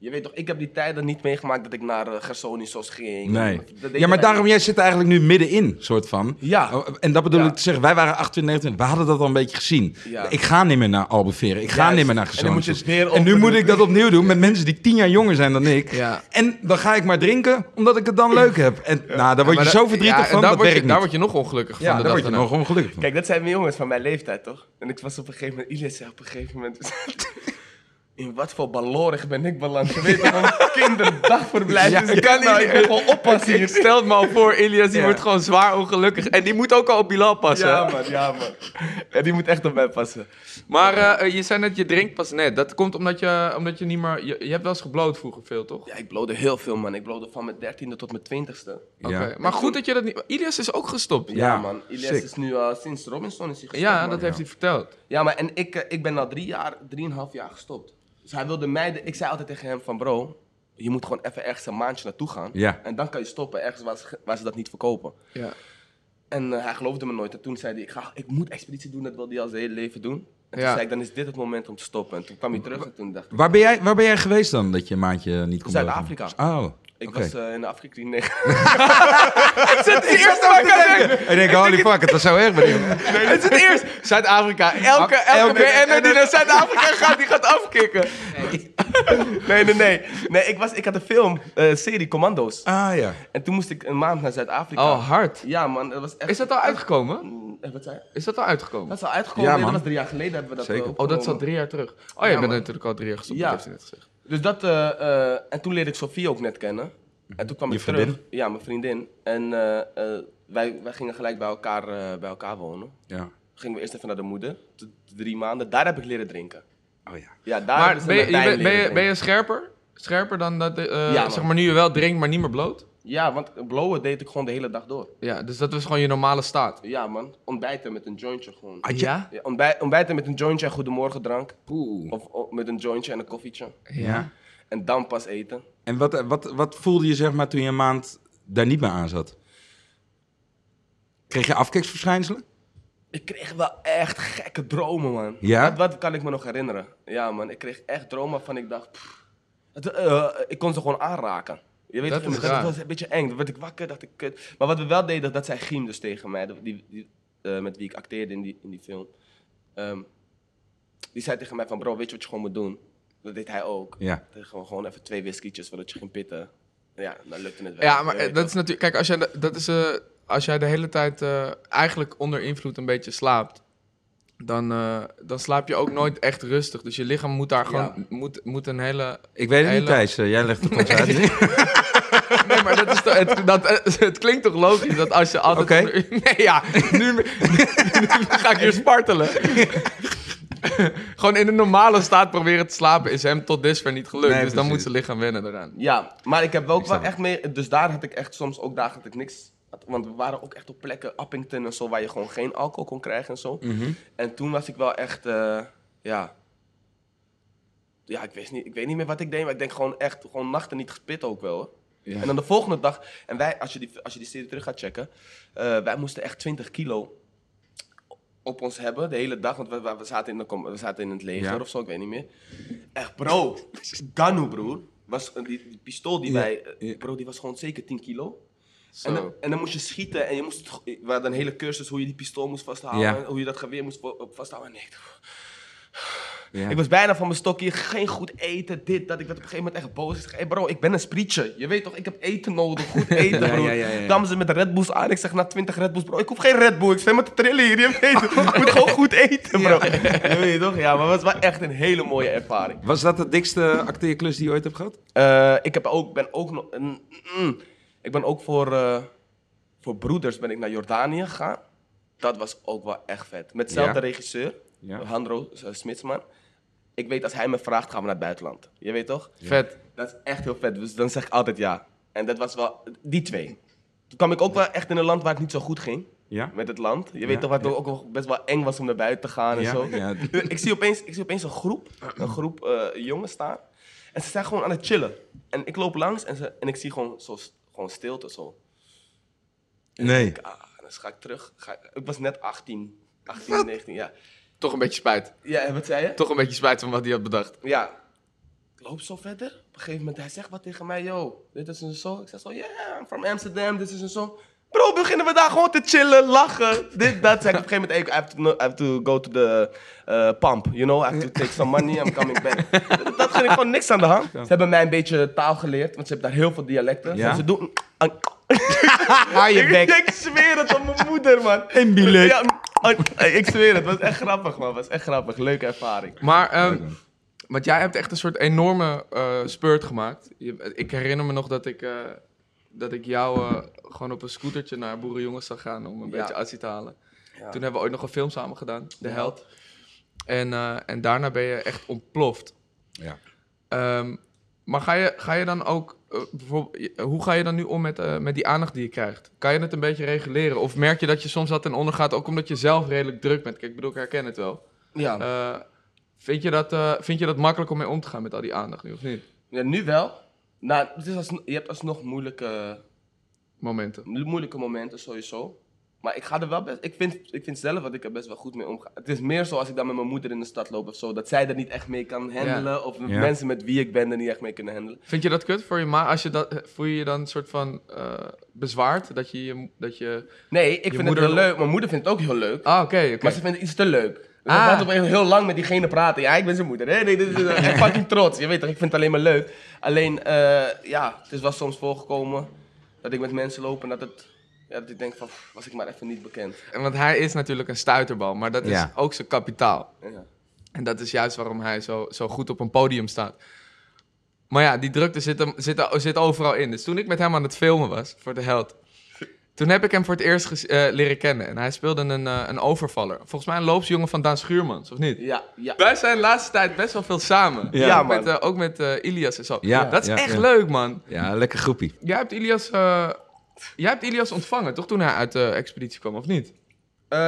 S2: Je weet toch, ik heb die tijden niet meegemaakt dat ik naar uh, Gersonisos ging.
S7: Nee.
S2: Dat deed
S7: Ja, maar
S2: iedereen.
S7: daarom, jij Oh. zit eigenlijk nu middenin, soort van.
S2: Ja.
S7: En dat bedoel
S2: Ja.
S7: ik te zeggen, wij waren 28, we hadden dat al een beetje gezien.
S2: Ja.
S7: Ik ga niet meer naar Albeveren, ik ga
S2: Juist.
S7: niet meer naar
S2: En dan moet je
S7: Gezondheid.
S2: het weer
S7: En nu
S2: opnieuw
S7: moet ik dat opnieuw doen met mensen die tien jaar jonger zijn dan ik.
S8: Ja.
S7: En dan ga ik maar drinken, omdat ik het dan leuk heb. En nou, daar word je
S8: Maar
S7: zo
S8: dat-
S7: verdrietig
S8: ja, en
S7: van,
S8: daar
S7: dat
S8: word je-
S7: werkt niet.
S8: Daar word je nog ongelukkig
S7: ja,
S8: van.
S7: daar
S8: de dag
S7: word je
S8: daarna.
S7: nog ongelukkig van.
S2: Kijk, dat zijn mijn jongens van mijn leeftijd, toch? En ik was op een gegeven moment, Ilias zei op een gegeven moment... In wat voor balorig ben ik beland? Je weet toch, een kinderdagverblijf.
S7: Ja,
S2: dus ik kan niet, ik ben gewoon oppassen
S8: Ik
S2: hier.
S8: stel het me al voor, Ilias, die
S2: Ja.
S8: wordt gewoon zwaar ongelukkig. En die moet ook al op Bilal passen.
S2: Ja man, ja man. En die moet echt op mij passen.
S8: Maar eh, je zei net, je drinkt pas net. Dat komt omdat je, omdat je niet meer... Je, je hebt wel eens gebloot vroeger veel, toch?
S2: Ja, ik blode heel veel man. Ik blode van mijn dertiende tot mijn twintigste.
S8: Oké,
S7: Ja.
S8: maar goed dat je dat niet... Ilias is ook gestopt.
S2: Ja,
S8: Ja,
S2: man, Ilias
S7: sick.
S2: is nu eh, sinds Robinson is hij gestopt, man.
S8: dat heeft hij verteld.
S2: Ja, maar en ik, eh, ik ben al drie jaar, drieënhalf jaar gestopt. Dus hij wilde mij, de- ik zei altijd tegen hem van bro, je moet gewoon even ergens een maandje naartoe gaan.
S7: Ja.
S2: En dan kan je stoppen, ergens waar ze, waar ze dat niet verkopen.
S8: Ja.
S2: En eh, hij geloofde me nooit. En toen zei hij, ik, ga, ik moet expeditie doen, dat wilde hij al zijn hele leven doen. En
S8: Ja.
S2: toen zei ik, dan is dit het moment om te stoppen. En toen kwam hij terug en toen dacht ik,
S7: Waar ben, jij, waar ben jij geweest dan, dat je een maandje niet kon
S2: Zuid-Afrika.
S7: blijven? Oh,
S2: ik
S7: oké.
S2: was eh, in Afrika. Nee,
S8: Het is het eerste waar ik aan denk.
S7: Ik denk, holy fuck, het was zo erg bij die jongen.
S8: Het is het eerst. Zuid-Afrika. Elke, Ah, elke
S7: elke-
S8: BN'er die naar Zuid-Afrika gaat, die gaat afkicken.
S2: nee, nee, nee. Nee, ik, was, ik had een film, eh, serie Commando's.
S7: Ah ja.
S2: En toen moest ik een maand naar Zuid-Afrika.
S8: Oh, hard.
S2: Ja man, dat was echt...
S8: Is dat al uitgekomen?
S2: Eh, Wat zei je?
S8: Is dat al uitgekomen?
S2: Dat is al uitgekomen.
S7: Ja,
S2: Nee,
S7: man.
S2: dat was drie jaar geleden hebben we dat
S7: Zeker.
S2: eh,
S8: Oh, dat is al
S2: opgenomen.
S8: drie jaar terug. Oh, jij
S2: Ja,
S8: bent
S2: man.
S8: natuurlijk al drie jaar gestopt.
S2: Ja.
S8: Dat heeft hij net gezegd.
S2: Dus dat, eh, eh, en toen leerde ik Sofie ook net kennen. En toen kwam
S7: Je
S2: ik terug.
S7: vriendin?
S2: Ja, mijn vriendin. En eh, eh, wij, wij gingen gelijk bij elkaar, eh, bij elkaar wonen.
S7: ja.
S2: Gingen we eerst even naar de moeder. T- Drie maanden. Daar heb ik leren drinken.
S7: Oh ja.
S2: Ja, daar
S8: Maar
S2: hebben ze
S8: ben je,
S2: Latijn
S8: ben, ben
S2: leren
S8: je, ben je
S2: drinken.
S8: scherper? Scherper dan dat, eh,
S2: Ja, man.
S8: zeg maar, nu je wel drinkt, maar niet meer bloot?
S2: Ja, want blowen deed ik gewoon de hele dag door.
S8: Ja, dus dat was gewoon je normale staat.
S2: Ja man, ontbijten met een jointje gewoon.
S8: Ja?
S2: Ja, ontbij- ontbijten met een jointje en goedemorgen drank.
S7: Poeh.
S2: Of, of met een jointje en een koffietje.
S7: Ja.
S2: En dan pas eten.
S7: En wat, wat, wat voelde je zeg maar toen je een maand daar niet meer aan zat? Kreeg je afkeksverschijnselen?
S2: Ik kreeg wel echt gekke dromen, man.
S7: Ja?
S2: Wat, wat kan ik me nog herinneren? Ja, man. Ik kreeg echt dromen waarvan ik dacht... pff, het, eh, ik kon ze gewoon aanraken. Je weet
S8: Dat
S2: toch,
S8: is raar.
S2: was een beetje eng. Dan werd ik wakker, dacht ik... Kut. Maar wat we wel deden, dat zij Giem dus tegen mij. Die, die, eh, met wie ik acteerde in die, in die film. Ehm, die zei tegen mij van... Bro, weet je wat je gewoon moet doen? Dat deed hij ook.
S7: Ja.
S2: Gewoon, gewoon even twee whiskietjes, voordat je ging pitten. Ja, dan lukte het wel.
S8: Ja, maar
S2: Je weet
S8: eh, dat is
S2: toch.
S8: natuurlijk... Kijk, als jij, de- dat is, eh, als jij de hele tijd eh, eigenlijk onder invloed een beetje slaapt... Dan, eh, dan slaap je ook nooit echt rustig. Dus je lichaam moet daar gewoon... Moet, moet een hele...
S7: Ik weet het
S8: Hele-
S7: niet, Thijs. Eh, Jij legt het ons uit.
S8: Nee, maar dat is toch, het, dat, eh, het klinkt toch logisch dat als je altijd...
S7: Oké.
S8: onder- nee, ja, nu, nu ga ik hier spartelen. Gewoon in een normale staat proberen te slapen is hem tot dusver niet gelukt.
S7: Nee,
S8: dus dan moet
S7: precies.
S8: zijn lichaam wennen eraan.
S2: eh, Ja, maar ik heb wel ook
S7: snap
S2: wel echt mee. Dus daar had ik echt soms ook dagen dat ik niks. had. Want we waren ook echt op plekken, Appington en zo, waar je gewoon geen alcohol kon krijgen en zo. En toen was ik wel echt, eh, ja. ja, ik, wist niet, ik weet niet meer wat ik deed, maar ik denk gewoon echt, gewoon nachten niet gespit ook wel. Hoor.
S7: Ja.
S2: En dan de volgende dag, en wij, als je die, als je die serie terug gaat checken, eh, wij moesten echt 20 kilo op ons hebben de hele dag, want we, we- we zaten, in de, com- we zaten in het leger
S7: Ja.
S2: of zo, ik weet niet meer. Echt, bro, Ganu, broer, was, een- die, die pistool die
S7: Ja,
S2: wij, eh,
S7: ja.
S2: bro, die was gewoon zeker 10 kilo.
S7: Zo.
S2: En dan, en dan moest je schieten en je moest, het- we hadden een hele cursus hoe je die pistool moest vasthouden,
S7: Ja.
S2: en hoe je dat geweer moest vo- vasthouden. En ik dacht,
S7: Ja.
S2: ik was bijna van mijn stokje, geen goed eten, dit, dat. Ik werd op een gegeven moment echt boos. Ik zeg, hey bro, ik ben een sprietje. Je weet toch, ik heb eten nodig, goed eten,
S7: Ja,
S2: bro.
S7: ja, ja, ja, ja.
S2: Damen ze met Red Bulls aan. Ik zeg, na 20 Red Bulls, bro, ik hoef geen Red Bull. Ik zit met te trillen hier, je weet het. Ik moet gewoon goed eten, bro. Je weet toch? Ja, maar het was wel echt een hele mooie ervaring.
S7: Was dat de dikste acteerklus die je ooit hebt gehad?
S2: Eh, ik heb ook, ben ook nog... een- mm, ik ben ook voor, eh, voor broeders ben ik naar Jordanië gegaan. Dat was ook wel echt vet. Met dezelfde
S7: Ja.
S2: regisseur,
S7: Ja.
S2: Handro eh, Smitsman. Ik weet, als hij me vraagt, gaan we naar het buitenland. Je weet toch?
S8: Vet.
S2: Dat is echt heel vet. Dus dan zeg ik altijd ja. En dat was wel die twee. Toen kwam ik ook wel echt in een land waar het niet zo goed ging
S7: Ja.
S2: met het land. Je weet
S7: Ja,
S2: toch waar het ook wel best wel eng was om naar buiten te gaan en
S7: Ja,
S2: zo.
S7: ja.
S2: Ik, zie opeens, ik zie opeens een groep, een groep eh, jongens staan. En ze zijn gewoon aan het chillen. En ik loop langs en, ze, en ik zie gewoon, zo, gewoon stilte zo.
S7: Nee.
S2: Ah, en dan ga ik terug. Ga ik, ik was net 18, 18, 19, ja.
S8: Toch een beetje spijt.
S2: Ja, en wat zei je?
S8: Toch een beetje spijt van wat hij had bedacht.
S2: Ja. Ik loop zo verder. Op een gegeven moment, hij zegt wat tegen mij. Yo, dit is een zo. Ik zeg zo, ja, yeah, I'm from Amsterdam, dit is een zo. Bro, beginnen we daar gewoon te chillen, lachen. Dit, dat. Zeg ik op een gegeven moment, hey, I, have to, I have to go to the eh, pump, you know. I have to take some money, I'm coming back. dat, dat ging ik gewoon niks aan de hand. Ze hebben mij een beetje taal geleerd, want ze hebben daar heel veel dialecten.
S7: Ja?
S2: En ze doen...
S8: Haal je
S2: ik,
S8: bek.
S2: ik zweer het op mijn moeder, man.
S7: Een billet.
S2: Ja, ik zweer het, het was echt grappig, man. Het was echt grappig, leuke ervaring.
S8: Maar, ehm, want jij hebt echt een soort enorme eh spurt gemaakt. Je- ik herinner me nog dat ik, eh, dat ik jou eh, gewoon op een scootertje naar Boerenjongens zag gaan om een
S2: Ja.
S8: beetje actie te halen.
S2: Ja.
S8: Toen hebben we ooit nog een film samen gedaan, De
S2: Ja.
S8: Held. En, eh, en daarna ben je echt ontploft.
S7: Ja.
S8: Ehm, maar ga je, ga je dan ook, eh, bijvoorbeeld, je- hoe ga je dan nu om met, eh, met die aandacht die je krijgt? Kan je het een beetje reguleren? Of merk je dat je soms dat ten onder gaat, ook omdat je zelf redelijk druk bent? Kijk, ik bedoel, ik herken het wel.
S2: Ja.
S8: Eh, vind, je dat, eh, vind je dat makkelijk om mee om te gaan met al die aandacht nu, of niet?
S2: Ja, nu wel. Nou, het is als, je hebt alsnog moeilijke,
S8: Momenten.
S2: moeilijke momenten sowieso. Maar ik ga er wel best... Ik vind, ik vind zelf dat ik er best wel goed mee omga. Het is meer zo als ik dan met mijn moeder in de stad loop of zo. Dat zij er niet echt mee kan handelen. Of
S7: Ja.
S2: mensen met wie ik ben er niet echt mee kunnen handelen.
S8: Vind je dat kut voor je ma? Als je dat, eh, voel je je dan een soort van eh, bezwaard? Dat je, je- dat je...
S2: Nee, ik vind
S8: moeder-
S2: het heel leuk. Mijn moeder vindt het ook heel leuk.
S8: Ah, oké, oké.
S2: Maar ze vindt het iets te leuk. Dus
S8: Ah.
S2: ah. ik op een heel lang met diegene praten. Ja, ik ben zijn moeder. Hè? Nee, dit is eh, echt fucking trots. Je weet toch, ik vind het alleen maar leuk. Alleen, eh, ja, het is wel soms voorgekomen dat ik met mensen loop en dat, het, ja, dat ik denk van, pff, was ik maar even niet bekend.
S8: En Want hij is natuurlijk een stuiterbal, maar dat is
S7: Ja.
S8: ook zijn kapitaal.
S2: Ja.
S8: En dat is juist waarom hij zo, zo goed op een podium staat. Maar ja, die drukte zit, hem, zit, zit overal in. Dus toen ik met hem aan het filmen was voor de held. Toen heb ik hem voor het eerst ges- eh, leren kennen. En hij speelde een, eh, een overvaller. Volgens mij een loopsjongen van Daan Schuurmans, of niet?
S2: Ja, ja.
S8: Wij zijn de laatste tijd best wel veel samen.
S2: Ja,
S8: ook met,
S2: man.
S8: eh, ook met eh, Ilias en zo.
S7: Ja,
S8: dat is
S7: ja,
S8: echt
S7: ja.
S8: leuk, man.
S7: Ja, lekker groepie.
S8: Jij hebt Ilias, eh, jij hebt Ilias ontvangen, toch? Toen hij uit de expeditie kwam, of niet?
S2: Eh,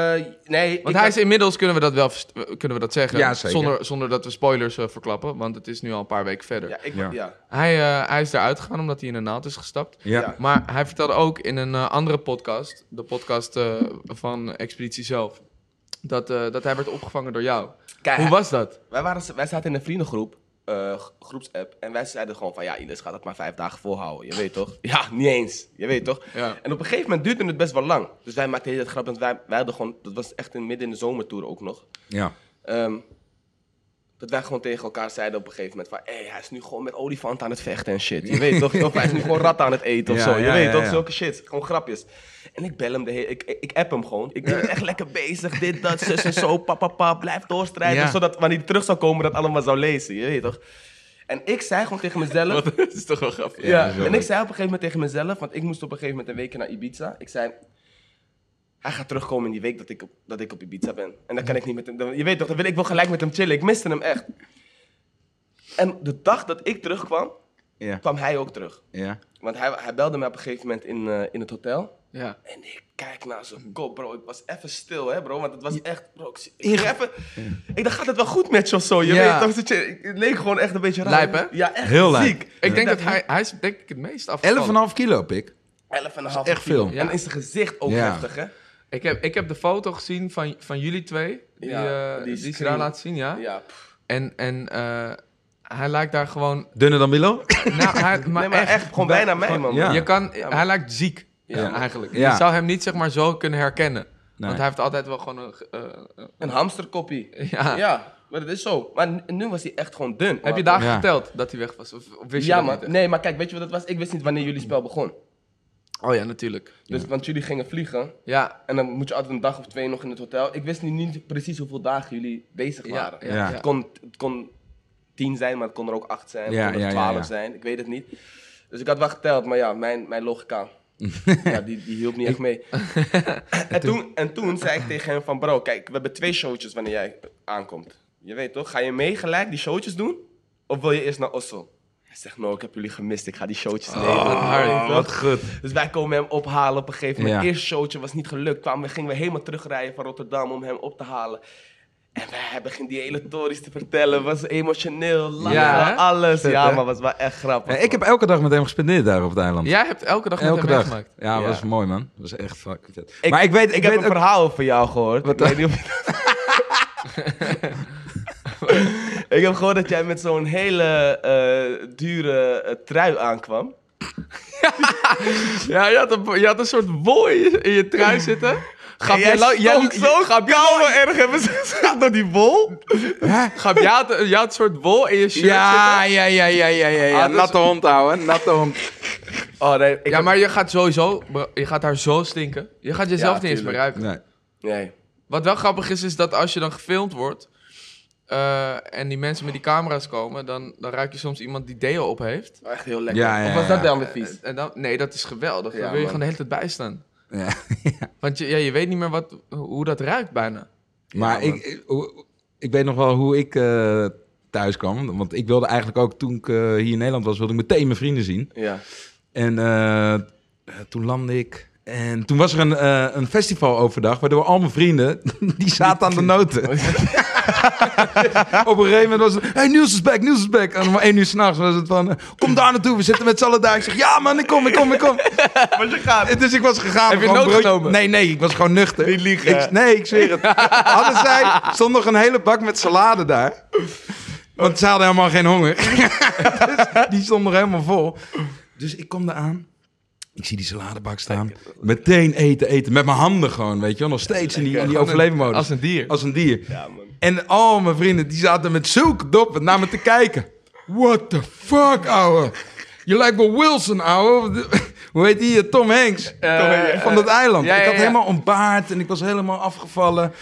S2: nee,
S8: Want
S2: ik
S8: hij
S2: had-
S8: is inmiddels, kunnen we dat wel verst- eh, kunnen we dat zeggen,
S7: Ja, zeker.
S8: Zonder, zonder dat we spoilers eh, verklappen, want het is nu al een paar weken verder.
S2: Ja, ik,
S7: Ja.
S2: ja.
S8: Hij, eh, hij is eruit gegaan omdat hij in een naald is gestapt.
S7: Ja.
S2: Ja.
S8: Maar hij vertelde ook in een eh, andere podcast, de podcast eh, van Expeditie zelf, dat, eh, dat hij werd opgevangen door jou.
S2: Kijk,
S8: Hoe
S2: hij-
S8: was dat?
S2: wij, waren, wij zaten in een vriendengroep, eh, g- groepsapp. En wij zeiden gewoon van, ja, Ines gaat het maar vijf dagen volhouden. Je weet toch? Ja, niet eens. Je weet toch?
S8: Ja.
S2: En op een gegeven moment duurde het best wel lang. Dus wij maakten de hele tijd grap. Want wij, wij hadden gewoon, dat was echt in, midden in de zomertour ook nog.
S7: Ja.
S2: Ehm, dat wij gewoon tegen elkaar zeiden op een gegeven moment van... Hé, hij is nu gewoon met olifant aan het vechten en shit. Je weet toch? Of hij is nu gewoon rat aan het eten of
S7: Ja,
S2: zo. Je
S7: ja,
S2: weet
S7: ja,
S2: toch?
S7: ja.
S2: Zulke shit. Gewoon grapjes. En ik bel hem de hele... Ik, ik, ik app hem gewoon. Ik ben echt lekker bezig. Dit, dat, zus en zo. Papa, papa. Blijf doorstrijden.
S8: Ja.
S2: Zodat wanneer hij terug zou komen, dat allemaal zou lezen. Je weet toch? En ik zei gewoon tegen mezelf...
S8: dat is toch wel grappig.
S2: Ja,
S7: dat is wel
S2: en
S7: leuk.
S2: ik zei op een gegeven moment tegen mezelf, want ik moest op een gegeven moment een week naar Ibiza. Ik zei, hij gaat terugkomen in die week dat ik op, dat ik op Ibiza ben. En dan kan ik niet met hem, dan- je weet toch, dan wil, ik wil gelijk met hem chillen. Ik miste hem echt. En de dag dat ik terugkwam,
S7: Ja.
S2: kwam hij ook terug.
S7: Ja.
S2: Want hij, hij belde me op een gegeven moment in, eh, in het hotel.
S8: Ja.
S2: En ik kijk naar
S7: Hm.
S2: zijn kop, bro. Ik was even stil, hè, bro. Want het was echt, bro. Ik, zie- ik, ging even, ik dacht, gaat het wel goed met je of zo? Je
S8: Ja.
S2: weet toch? dat je- ik- Het leek gewoon echt een beetje raar.
S8: Lijp, hè?
S2: Ja, echt
S7: Heel lijp.
S2: ziek.
S8: Ik denk dat hij, hij is denk ik het meest afgevallen.
S7: 11,5 kilo, pik.
S2: 11 en een half
S7: echt
S2: kilo.
S7: veel.
S2: En in zijn gezicht ook
S7: Ja.
S2: heftig, hè?
S8: Ik heb, ik heb de foto gezien van, van jullie twee. Die,
S2: Ja,
S8: eh,
S2: die
S8: die ze
S2: screen.
S8: daar laat zien, ja.
S2: Ja, pff.
S8: En, en eh, hij lijkt daar gewoon...
S7: Dunner dan Milo?
S8: Nou, hij, maar
S2: nee, maar
S8: echt,
S2: echt, gewoon bijna mij, man.
S7: ja.
S8: Je kan,
S2: Ja, maar-
S8: hij lijkt ziek,
S2: Ja.
S8: eigenlijk.
S7: Ja.
S8: Je zou hem niet zeg maar zo kunnen herkennen. Want
S7: Nee.
S8: hij heeft altijd wel gewoon een... ge- eh,
S2: Een hamsterkoppie.
S8: eh, ja.
S2: Ja, maar dat is zo. Maar n- nu was hij echt gewoon dun.
S8: Heb je
S2: daar
S8: daar
S7: Ja.
S8: verteld dat hij weg was? Of, of wist je
S2: Ja,
S8: dat
S2: man.
S8: niet echt?
S2: Nee, maar kijk, weet je wat het was? Ik wist niet wanneer jullie spel begon.
S8: Oh ja, natuurlijk.
S2: Dus, Want jullie gingen vliegen.
S8: Ja,
S2: En dan moet je altijd een dag of twee nog in het hotel. Ik wist nu niet precies hoeveel dagen jullie bezig
S8: ja,
S2: waren.
S8: ja.
S7: Ja.
S8: ja.
S2: Het, kon, het kon tien zijn, maar het kon er ook acht zijn.
S7: Ja,
S2: het kon er
S7: ja, ja,
S2: twaalf
S7: ja.
S2: zijn. Ik weet het niet. Dus ik had wel geteld, maar ja, mijn, mijn logica. ja, die, die hielp niet echt mee. en, toen, en toen zei ik tegen hem van... Bro, kijk, we hebben twee showtjes wanneer jij aankomt. Je weet toch? Ga je mee gelijk die showtjes doen? Of wil je eerst naar Oslo? Hij zegt, no, ik heb jullie gemist. Ik ga die showtjes nemen.
S8: Harry,
S7: Oh, Wat goed.
S2: Dus wij komen hem ophalen op een gegeven moment.
S7: Ja.
S2: Eerst showtje was niet gelukt. Kwamen, we- gingen we helemaal terugrijden van Rotterdam om hem op te halen. En wij hebben begint die hele tories te vertellen. Was emotioneel, lachen,
S8: Ja, hè?
S2: alles. ja,
S7: hè?
S2: maar was wel echt grappig.
S7: ik heb elke dag met hem gespendeerd daar op het eiland.
S8: Jij hebt elke dag met
S7: elke
S8: hem
S7: dag.
S8: meegemaakt.
S7: Ja, dat
S2: Ja.
S7: was mooi, man. Dat was echt fucking vet.
S2: Ik-
S7: maar ik weet, ik,
S2: Ik heb
S7: weet
S2: een
S7: ook-
S2: verhaal van jou gehoord. ik weet niet of je dat- Ik heb gehoord dat jij met zo'n hele eh, dure eh, trui aankwam.
S8: Ja, je had, een, je had een soort wol in je, in je trui zitten. Gap,
S2: En jij stonk zo
S8: Gap, jij wel erg hebben ze gaat door die wol. Gap, jij had, jij had een soort wol in je shirt
S7: Ja,
S8: zitten.
S7: ja, ja, ja, ja, ja. ja.
S8: Ah, dus-
S7: Natte hond houden, natte hond.
S2: Oh nee, ik
S8: Ja, maar je gaat sowieso, je gaat daar zo stinken. Je gaat jezelf
S2: Ja,
S8: niet eens meer
S2: tuurlijk.
S8: ruiken.
S7: Nee.
S2: Nee.
S8: Wat wel grappig is, is dat als je dan gefilmd wordt eh, en die mensen met die camera's komen, dan, dan ruik je soms iemand die deo op heeft.
S2: Echt heel lekker.
S7: Ja, ja,
S2: Of was
S7: ja.
S2: dat dan weer vies?
S8: En dan, nee, dat is geweldig.
S2: Ja,
S8: dan wil je
S2: man.
S8: gewoon de hele tijd bijstaan.
S7: Ja.
S8: Want je, ja, je weet niet meer wat, hoe dat ruikt bijna.
S7: Maar ik, ik, hoe- ik weet nog wel hoe ik eh, thuis kwam. Want ik wilde eigenlijk ook, toen ik eh, hier in Nederland was, wilde ik meteen mijn vrienden zien.
S2: Ja.
S7: En eh, eh, toen landde ik. En toen was er een, eh, een festival overdag, waardoor al mijn vrienden, die zaten aan de noten.
S2: Oh,
S7: Op een gegeven moment was het, hey Niels is back, Niels is back. En om één uur s'nachts was het van, eh, kom daar naartoe, we zitten met z'n allen daar. Ik zeg, ja man, ik kom, ik kom, ik kom.
S2: Was je gaat.
S7: En Dus ik was gegaan.
S8: Heb je
S7: gewoon
S8: nood
S7: broodje-
S8: genomen?
S7: Nee, nee, ik was gewoon nuchter.
S2: Niet liegen.
S7: Ik- nee, ik zweer het. Hadden zij, stond nog een hele bak met salade daar. Want ze hadden helemaal geen honger. dus die stond nog helemaal vol. Dus ik kom eraan. Ik zie die saladebak staan. Meteen eten, eten. Met mijn handen gewoon, weet je wel. Nog steeds in die, in die overlevenmodus.
S8: Als een dier.
S7: Als een dier.
S2: Ja, man.
S7: En al mijn vrienden, die zaten met zulke doppen naar me te kijken. What the fuck, ouwe. Je lijkt wel Wilson, ouwe. Hoe heet die? eh, Tom Hanks. Eh, van dat eiland.
S8: ja,
S7: ik had
S8: ja, ja.
S7: helemaal ontbaard en ik was helemaal afgevallen.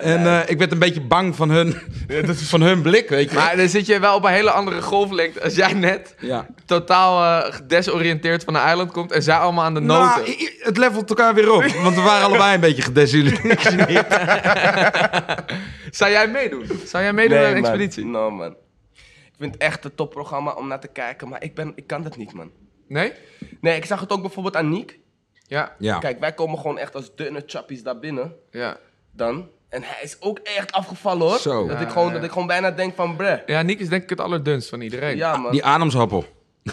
S7: en eh, ik werd een beetje bang van hun, van hun blik, weet je.
S8: Maar dan zit je wel op een hele andere golflengte als jij net
S7: ja.
S8: totaal eh, gedesoriënteerd van een eiland komt en zij allemaal aan de noten.
S7: Nou, i- i- het levelt elkaar weer op. Want we waren allebei een beetje gedesillusioneerd.
S8: Zou jij meedoen? Zou jij meedoen aan een
S2: man.
S8: expeditie?
S2: No, man. Ik vind het echt een topprogramma om naar te kijken, maar ik, ben, ik kan dat niet, man.
S8: Nee?
S2: Nee, ik zag het ook bijvoorbeeld aan Niek.
S8: Ja,
S7: Ja.
S2: Kijk, wij komen gewoon echt als dunne chappies daar binnen
S8: ja.
S2: dan. En hij is ook echt afgevallen, hoor.
S7: Zo.
S2: Dat,
S8: Ja,
S2: ik gewoon,
S8: ja.
S2: dat ik gewoon bijna denk van, bruh.
S8: Ja, Nick is denk ik het allerdunst van iedereen.
S2: Ja, man.
S7: Die ademshappel.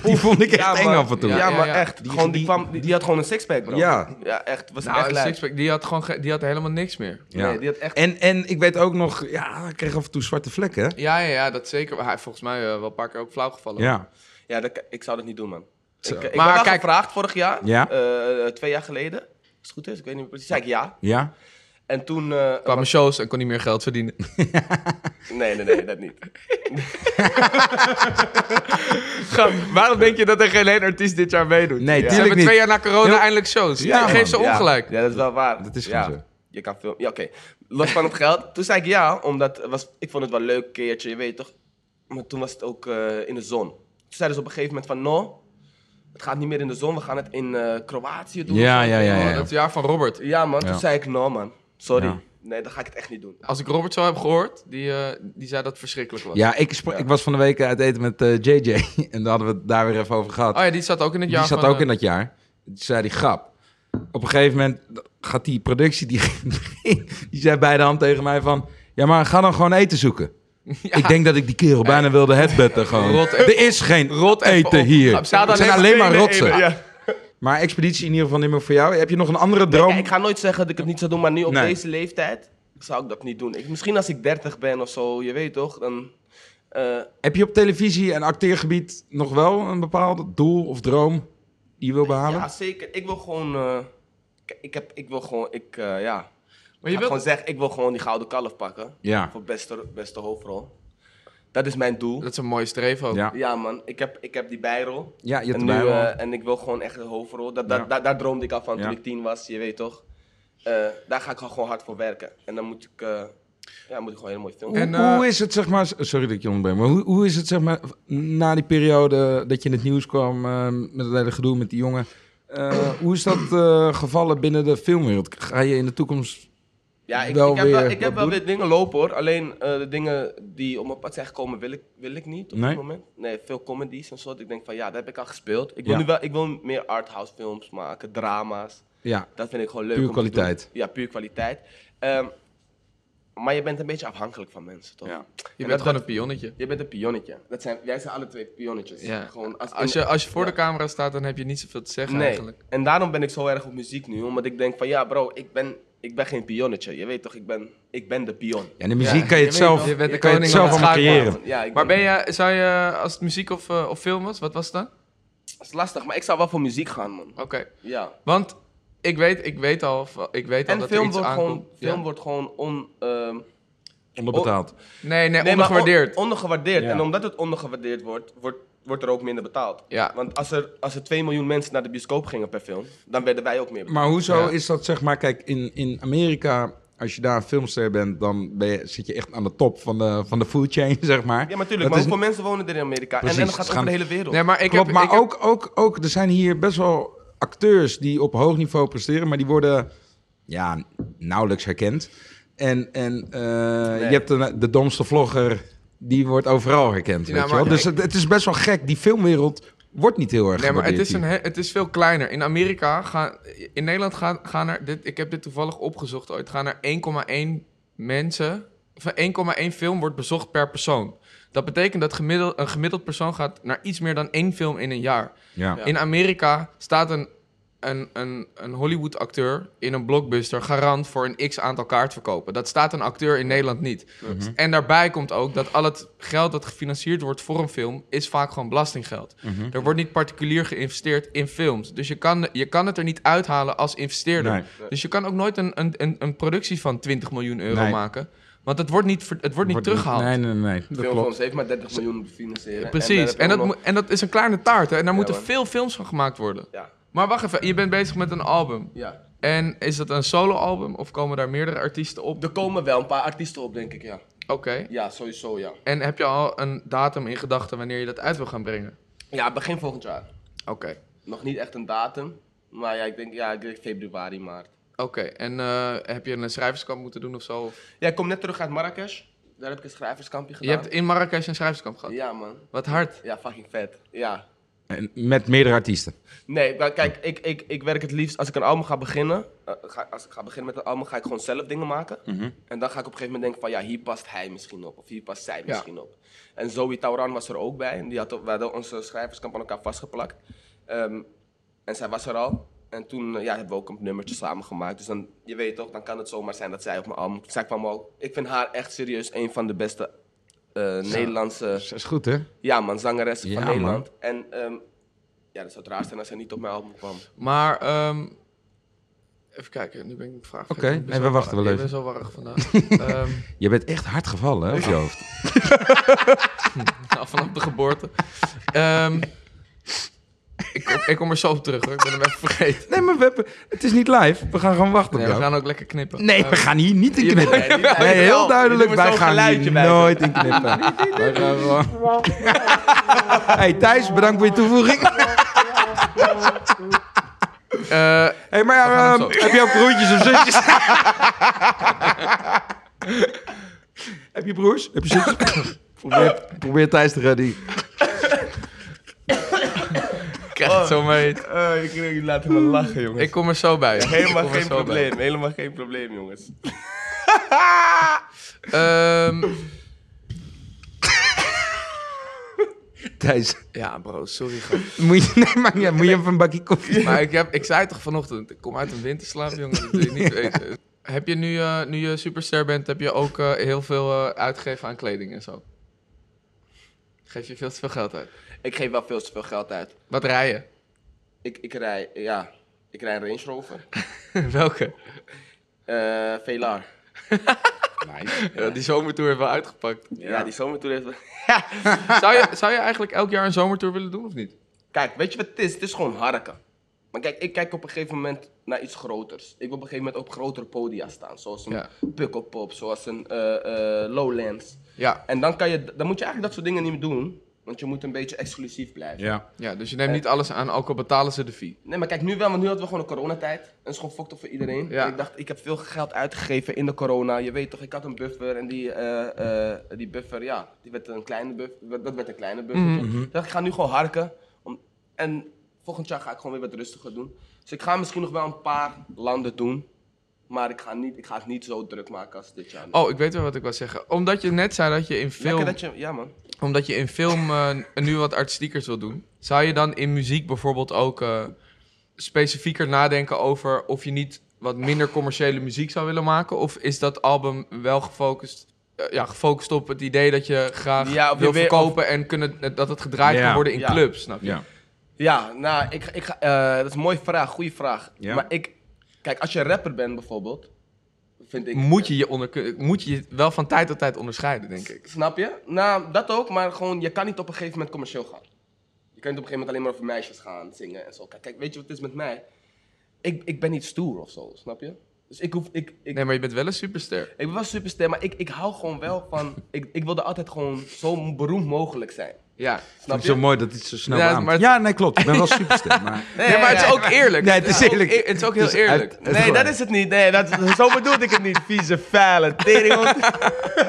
S7: Die vond ik echt
S2: Ja,
S7: eng
S2: man.
S7: af en toe.
S2: Ja,
S8: Ja, ja,
S2: maar
S8: ja.
S2: echt. Die, gewoon, die, kwam, die, die had gewoon een sixpack, bro.
S7: Ja.
S2: Ja, echt. Was
S8: Nou,
S2: echt
S8: een
S2: lijp.
S8: sixpack, die had gewoon ge- die had helemaal niks meer.
S7: Ja.
S2: Nee, die had echt...
S7: En, en ik weet ook nog, ja, ik kreeg af en toe zwarte vlekken. hè?
S8: Ja, ja, ja, dat zeker. Hij is volgens mij eh, wel een paar keer ook flauw gevallen.
S7: Ja.
S2: Ja, dat, ik zou dat niet doen, man. Ik, eh, ik
S8: Maar
S2: maar ben wel
S8: kijk-
S2: gevraagd vorig jaar.
S7: Ja.
S2: eh, twee jaar geleden. Als het goed is, ik weet niet meer precies. Zei ik ja.
S7: Ja.
S2: En toen... eh,
S8: Kwamen shows en kon niet meer geld verdienen.
S2: Nee, nee, nee, dat niet.
S8: Gam, Waarom denk je dat er geen één artiest dit jaar meedoet?
S7: Nee,
S8: Ze
S7: tuurlijk
S8: hebben
S7: niet.
S8: twee jaar na corona
S7: Heel-
S8: eindelijk shows.
S7: Ja,
S8: Ja, geef
S7: man.
S8: ze
S2: Ja,
S8: ongelijk.
S2: Ja, dat is wel waar.
S7: Dat is
S2: ja.
S7: gewoon zo.
S2: Je kan filmen. Ja, oké. Los van het geld. Toen zei ik ja, omdat het was, ik vond het wel een leuk keertje, je weet toch. Maar toen was het ook eh, in de zon. Toen zeiden ze op een gegeven moment van, no, het gaat niet meer in de zon, we gaan het in eh, Kroatië doen.
S7: Ja, ja, ja,
S8: Oh,
S7: ja.
S8: dat is het jaar van Robert.
S2: Ja, man. Toen
S7: Ja.
S2: zei ik, no, man. Sorry.
S7: Ja.
S2: Nee, dan ga ik het echt niet doen.
S8: Als ik Robert zou hebben gehoord, die, eh, die zei dat het verschrikkelijk was.
S7: Ja, ik, spra- ik was van de week uit eten met eh, JJ. En daar hadden we het daar weer even over gehad.
S8: Oh ja, die zat ook in het
S7: die
S8: jaar
S7: zat
S8: van...
S7: ook in
S8: eh,
S7: dat jaar. Toen zei die grap. op een gegeven moment gaat die productie, die, die zei bij de hand tegen mij van... Ja, maar ga dan gewoon eten zoeken. Ik denk dat ik die kerel bijna wilde headbetten gewoon.
S8: Rot even-
S7: er is geen rot eten
S8: Ze
S7: hier. Het
S8: hadden
S7: zijn alleen, maar rotsen.
S8: Ja.
S7: Maar expeditie in ieder geval niet meer voor jou. Heb je nog een andere droom?
S2: Kijk, ik ga nooit zeggen dat ik het niet zou doen, maar nu op
S7: Nee.
S2: deze leeftijd zou ik dat niet doen. Ik, misschien als ik 30 ben of zo, je weet toch, dan. eh,
S7: Heb je op televisie en acteergebied nog wel een bepaald doel of droom die je wil behalen?
S2: ja, zeker. Ik wil gewoon. eh, k- ik, heb, ik wil gewoon. Ik, eh, ja.
S8: Maar
S2: Ik ga
S8: je
S2: gewoon
S8: wilt...
S2: zeggen, ik wil gewoon die gouden kalf pakken.
S7: Ja.
S2: Voor beste, beste hoofdrol. Dat is mijn doel.
S8: Dat is een mooie streef ook.
S7: Ja.
S2: Ja, man. Ik heb, ik heb die bijrol.
S7: Ja, je hebt
S2: en,
S7: erbij wel.
S2: eh, en ik wil gewoon echt de hoofdrol. Dat, dat,
S7: Ja.
S2: daar- daar droomde ik al van toen
S7: Ja.
S2: ik tien was, je weet toch. Eh, daar ga ik gewoon hard voor werken. En dan moet ik, eh, ja, moet ik gewoon hele mooie films
S7: En,
S8: En, eh,
S7: hoe is het, zeg maar... Sorry dat ik je onderbreek, maar hoe, hoe is het, zeg maar, na die periode dat je in het nieuws kwam eh, met het hele gedoe met die jongen? eh, hoe is dat eh, gevallen binnen de filmwereld? Ga je in de toekomst...
S2: Ja, ik,
S7: wel
S2: ik heb, wel,
S7: weer
S2: ik heb
S7: wat
S2: wel
S7: doen?
S2: weer dingen lopen hoor. Alleen eh, de dingen die op mijn pad zijn gekomen, wil ik, wil ik niet op
S7: Nee?
S2: dit moment. Nee, veel comedies en soort. Ik denk van ja, dat heb ik al gespeeld. Ik wil
S7: Ja.
S2: nu wel ik wil meer arthouse films maken, drama's.
S7: Ja,
S2: Dat vind ik gewoon leuk.
S7: Puur
S2: om te doen.
S7: kwaliteit.
S2: Ja, puur kwaliteit. Ehm, maar je bent een beetje afhankelijk van mensen, toch?
S7: Ja.
S8: Je
S2: En
S8: bent
S2: dat-
S8: gewoon een pionnetje.
S2: Je bent een pionnetje. Dat zijn, wij zijn alle twee pionnetjes.
S8: Ja.
S2: Gewoon als,
S8: Als je, als je voor
S2: ja.
S8: de camera staat, dan heb je niet zoveel te zeggen
S2: Nee.
S8: eigenlijk.
S2: En daarom ben ik zo erg op muziek nu. Omdat ik denk van ja, bro, ik ben, ik ben geen pionnetje. Je weet toch, ik ben, ik ben de pion.
S7: ja in de muziek
S8: Ja,
S7: kan je
S8: je
S7: het
S8: weet
S7: zelf,
S8: wel. Je bent de
S7: kan je het
S8: koning
S7: zelf
S8: van de
S7: allemaal
S8: schaakbaan.
S7: creëren.
S2: Ja, ik
S8: Maar ben je, zou je, als het muziek of, eh, of film was, wat was het dan?
S2: Dat is lastig, maar ik zou wel voor muziek gaan, man.
S8: Oké.
S2: Ja.
S8: Want ik weet, ik weet al, of- ik weet al
S2: En
S8: dat
S2: film
S8: er iets
S2: wordt, gewoon,
S8: aankomt. Ja.
S2: film wordt gewoon on, ehm,
S7: Onderbetaald.
S8: Nee, nee,
S2: nee, maar
S8: ondergewaardeerd.
S2: on- ondergewaardeerd. En omdat het ondergewaardeerd wordt, wordt, wordt er ook minder betaald.
S8: Ja.
S2: Want als er, als er 2 miljoen mensen naar de bioscoop gingen per film, dan werden wij ook meer betaald.
S7: Maar hoezo
S8: Ja.
S7: is dat, zeg maar, kijk, in, in Amerika, als je daar een filmster bent, dan ben je, zit je echt aan de top van de, van de food chain, zeg maar.
S2: Ja, maar tuurlijk.
S7: Dat
S2: Maar
S7: is-
S2: hoeveel mensen wonen er in Amerika?
S7: Precies,
S2: en, en dat gaat
S7: het
S2: over de
S7: gaan-
S2: hele wereld.
S8: Nee, maar ik
S7: Klopt,
S8: heb,
S7: maar
S8: ik heb-
S7: ook, ook, ook, er zijn hier best wel acteurs die op hoog niveau presteren, maar die worden ja, nauwelijks herkend. En, en eh, je hebt de, de domste vlogger, die wordt overal herkend, weet
S8: maar
S7: je wel.
S8: ik-
S7: Dus het, het is best wel gek, die filmwereld wordt niet heel erg
S8: Nee, maar het is, een,
S7: gewaardeerd
S8: he- het is veel kleiner. In Amerika gaan... In Nederland gaan, gaan er... Dit, ik heb dit toevallig opgezocht ooit. Gaan er 1,1 mensen... Of 1,1 film wordt bezocht per persoon. Dat betekent dat gemiddeld, een gemiddeld persoon gaat naar iets meer dan één film in een jaar.
S7: hier. Ja.
S8: In Amerika staat een, een, een, een Hollywood-acteur in een blockbuster garant voor een x aantal kaartverkopen. Dat staat een acteur in Nederland niet. En daarbij komt ook dat al het geld dat gefinancierd wordt voor een film, is vaak gewoon belastinggeld. Er wordt niet particulier geïnvesteerd in films. Dus je kan, je kan het er niet uithalen als investeerder.
S7: Nee.
S8: Dus je kan ook nooit een, een, een, een productie van 20 miljoen euro
S7: Nee.
S8: maken. Want het wordt niet, ver- het wordt niet teruggehaald.
S7: Nee, nee, nee. dat
S2: Veel
S7: klopt.
S2: films heeft maar 30 miljoen om te financieren.
S8: Precies. En,
S2: daar heb je
S8: dat,
S2: ook
S8: moet-
S2: nog-
S8: en dat is een kleine taart. Hè? En daar moeten
S2: man.
S8: veel films van gemaakt worden.
S2: Ja,
S8: Maar wacht even, je bent bezig met een album.
S2: ja.
S8: En is dat een solo-album of komen daar meerdere artiesten op?
S2: Er komen wel een paar artiesten op, denk ik, ja.
S8: Oké.
S2: Ja, sowieso, ja.
S8: En heb je al een datum in gedachten wanneer je dat uit wil gaan brengen?
S2: Ja, begin volgend jaar.
S8: Oké.
S2: Nog niet echt een datum. Maar ja, ik denk, ja, ik denk februari, maart.
S8: Oké. En eh, heb je een schrijverskamp moeten doen of zo? Of-
S2: Ja, ik kom net terug uit Marrakesh. Daar heb ik een schrijverskampje
S8: Je
S2: gedaan.
S8: hebt in Marrakesh een schrijverskamp gehad.
S2: Ja, man.
S8: Wat hard.
S2: Ja, fucking vet. Ja.
S7: En Met meerdere artiesten.
S2: Nee, maar kijk, ik, ik, ik werk het liefst als ik een album ga beginnen. eh, ga, als ik ga beginnen met een album, ga ik gewoon zelf dingen maken. En dan ga ik op een gegeven moment denken van, ja, hier past hij misschien op. Of hier past zij misschien op. En Zoe Tauran was er ook bij. En die had, ook- we hadden onze schrijverskamp aan elkaar vastgeplakt. Ehm, en zij was er al. En toen eh, ja, hebben we ook een nummertje samen gemaakt. Dus dan, je weet toch, dan kan het zomaar zijn dat zij op mijn album... Zij kwam ook... Ik vind haar echt serieus een van de beste eh, Nederlandse...
S7: Dat is goed, hè?
S2: Ja, man, zangeressen
S7: Ja,
S2: van
S7: man.
S2: Nederland. En ehm, ja, dat zou het raar zijn als hij niet op mijn album kwam.
S8: Maar, ehm, even kijken. Nu ben ik mijn vraag
S7: Oké,
S8: vergeten. Ik ben
S7: nee, we
S8: zo war-
S7: wachten wel
S8: Ik
S7: even.
S8: ben zo warrig vandaag. Ehm,
S7: Je bent echt hard gevallen, hè, op je hoofd.
S8: nou, vanaf de geboorte. Ehm, ik, kom, ik kom er zo op terug hoor. Ik ben hem even vergeten.
S7: Nee, maar we hebben, het is niet live. We gaan gewoon wachten op
S8: Nee, we
S7: jou.
S8: gaan ook lekker knippen.
S7: Nee, we gaan hier niet in knippen.
S2: Nee, die-
S7: Nee, heel
S2: Jawel,
S7: duidelijk,
S2: je doet
S7: wij
S2: er zo'n
S7: gaan
S2: geluidje
S7: hier
S2: bij.
S7: nooit in knippen. Wij gaan gewoon- hey Thijs, bedankt voor je toevoeging.
S8: Eh,
S7: Hey, maar ja,
S8: gaan hem
S7: ehm, heb je ook broertjes of zusjes? heb je broers? Heb je zusjes? probeer, probeer Thijs te redden.
S8: krijg het zo mee.
S2: Eh, ik, ik laat hem lachen, jongens.
S8: oh. Ik kom er zo bij. Ik
S2: helemaal
S8: kom er
S2: geen
S8: zo bij.
S2: probleem, helemaal geen probleem, jongens.
S8: Ehm,
S7: Thijs,
S8: ja, bro, sorry. gast.
S7: moet je, nee, maar, ja, moet je even een bakje koffie?
S8: Maar ik, heb, ik zei toch vanochtend, ik kom uit een winterslaap, jongen. Dat wil je niet weten. Heb je nu, eh, nu je superster bent, heb je ook eh, heel veel eh, uitgegeven aan kleding en zo? Geef je veel te veel geld uit?
S2: Ik geef wel veel te veel geld uit.
S8: Wat rij je?
S2: Ik, ik rij, ja, ik rij een Range Rover.
S8: Welke?
S2: Eh Velar.
S8: Ja, die zomertour hebben we uitgepakt.
S2: Ja. die zomertour heeft...
S8: Zou je, zou je eigenlijk elk jaar een zomertour willen doen of niet?
S2: Kijk, weet je wat het is? Het is gewoon harken. Maar kijk, ik kijk op een gegeven moment naar iets groters. Ik wil op een gegeven moment op grotere podia staan. Zoals een
S8: Ja.
S2: Pukkelpop, zoals een eh, eh, Lowlands.
S8: Ja.
S2: En dan, kan je, dan moet je eigenlijk dat soort dingen niet meer doen. Want je moet een beetje exclusief blijven.
S7: Ja.
S8: ja, dus je neemt niet alles aan, ook al betalen ze de fee.
S2: Nee, maar kijk, nu wel, want nu hadden we gewoon een coronatijd. En het is gewoon fucked up voor iedereen.
S8: Ja.
S2: En Ik dacht, ik heb veel geld uitgegeven in de corona. Je weet toch, ik had een buffer en die, eh, eh, die buffer, ja, die werd een kleine buffer. Dat werd een kleine buffer.
S8: Mhm,
S2: Dus ik dacht, ik ga nu gewoon harken. Om, en volgend jaar ga ik gewoon weer wat rustiger doen. Dus ik ga misschien nog wel een paar landen doen. Maar ik ga, niet, ik ga het niet zo druk maken als dit jaar.
S8: Oh, ik weet wel wat ik wil zeggen. Omdat je net zei dat je in film,
S2: Lekker dat je, ja man.
S8: omdat je in film eh, nu wat artistiekers wil doen, zou je dan in muziek bijvoorbeeld ook eh, specifieker nadenken over of je niet wat minder commerciële muziek zou willen maken? Of is dat album wel gefocust, eh, ja, gefocust op het idee dat je graag
S2: Ja, of je
S8: wil
S2: weer-
S8: verkopen en kunnen, dat het gedraaid
S7: Ja.
S8: kan worden in
S2: Ja.
S8: clubs, snap je?
S7: Ja.
S2: Ja, nou, ik, ik ga, eh, dat is een mooie vraag, goede vraag.
S7: Ja.
S2: Maar ik, kijk, als je rapper bent bijvoorbeeld, vind ik...
S8: Moet je je, onder, moet je je wel van tijd tot tijd onderscheiden, denk ik.
S2: Snap je? Nou, dat ook, maar gewoon, je kan niet op een gegeven moment commercieel gaan. Je kan niet op een gegeven moment alleen maar over meisjes gaan zingen en zo. Kijk, kijk weet je wat het is met mij? Ik, ik ben niet stoer of zo, snap je? Dus ik hoef, ik, ik,
S8: Nee, maar je bent wel een superster.
S2: ik ben wel superster, maar ik, ik hou gewoon wel van, ik, ik wilde altijd gewoon zo beroemd mogelijk zijn.
S8: Ja.
S2: Snap je?
S7: Zo mooi dat dit zo snel
S8: Ja,
S7: aan.
S8: maar het-
S7: Ja, nee, klopt. Ik ben wel superster, maar...
S8: Nee, maar het is ook eerlijk.
S7: Nee, het is
S8: ook
S7: eerlijk.
S8: eer- Het is ook heel eerlijk.
S7: uit-
S2: Nee, dat is het niet. Nee, dat, zo bedoelde ik het niet. Vieze, vuile teringhond.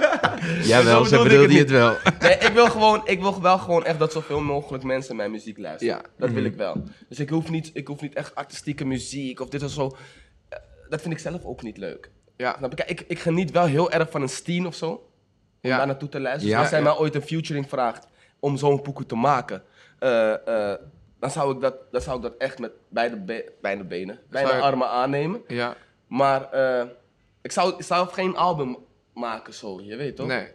S7: Jawel,
S2: Zo
S7: zo
S2: bedoelde
S7: bedoelde
S2: ik
S7: je het
S2: het
S7: wel.
S2: Nee, ik wil, gewoon, ik wil wel gewoon echt dat zoveel mogelijk mensen mijn muziek luisteren.
S8: Ja. Mhm.
S2: Dat wil ik wel. Dus ik hoef niet, ik hoef niet echt artistieke muziek of dit of zo. Eh, Dat vind ik zelf ook niet leuk.
S8: Ja.
S7: Nou,
S2: Snap je? Kijk, ik, ik geniet wel heel erg van een Steen of zo. Om
S8: Ja.
S2: daar naartoe te luisteren.
S7: Ja.
S2: Als zij mij ooit een featuring vraagt om zo'n pokoe te maken, eh, eh, dan, zou ik dat, dan zou ik dat echt met beide, be- beide benen, beide
S8: je-
S2: armen aannemen.
S8: Ja.
S2: Maar eh, ik zou zelf geen album maken zo, je weet toch?
S8: Nee.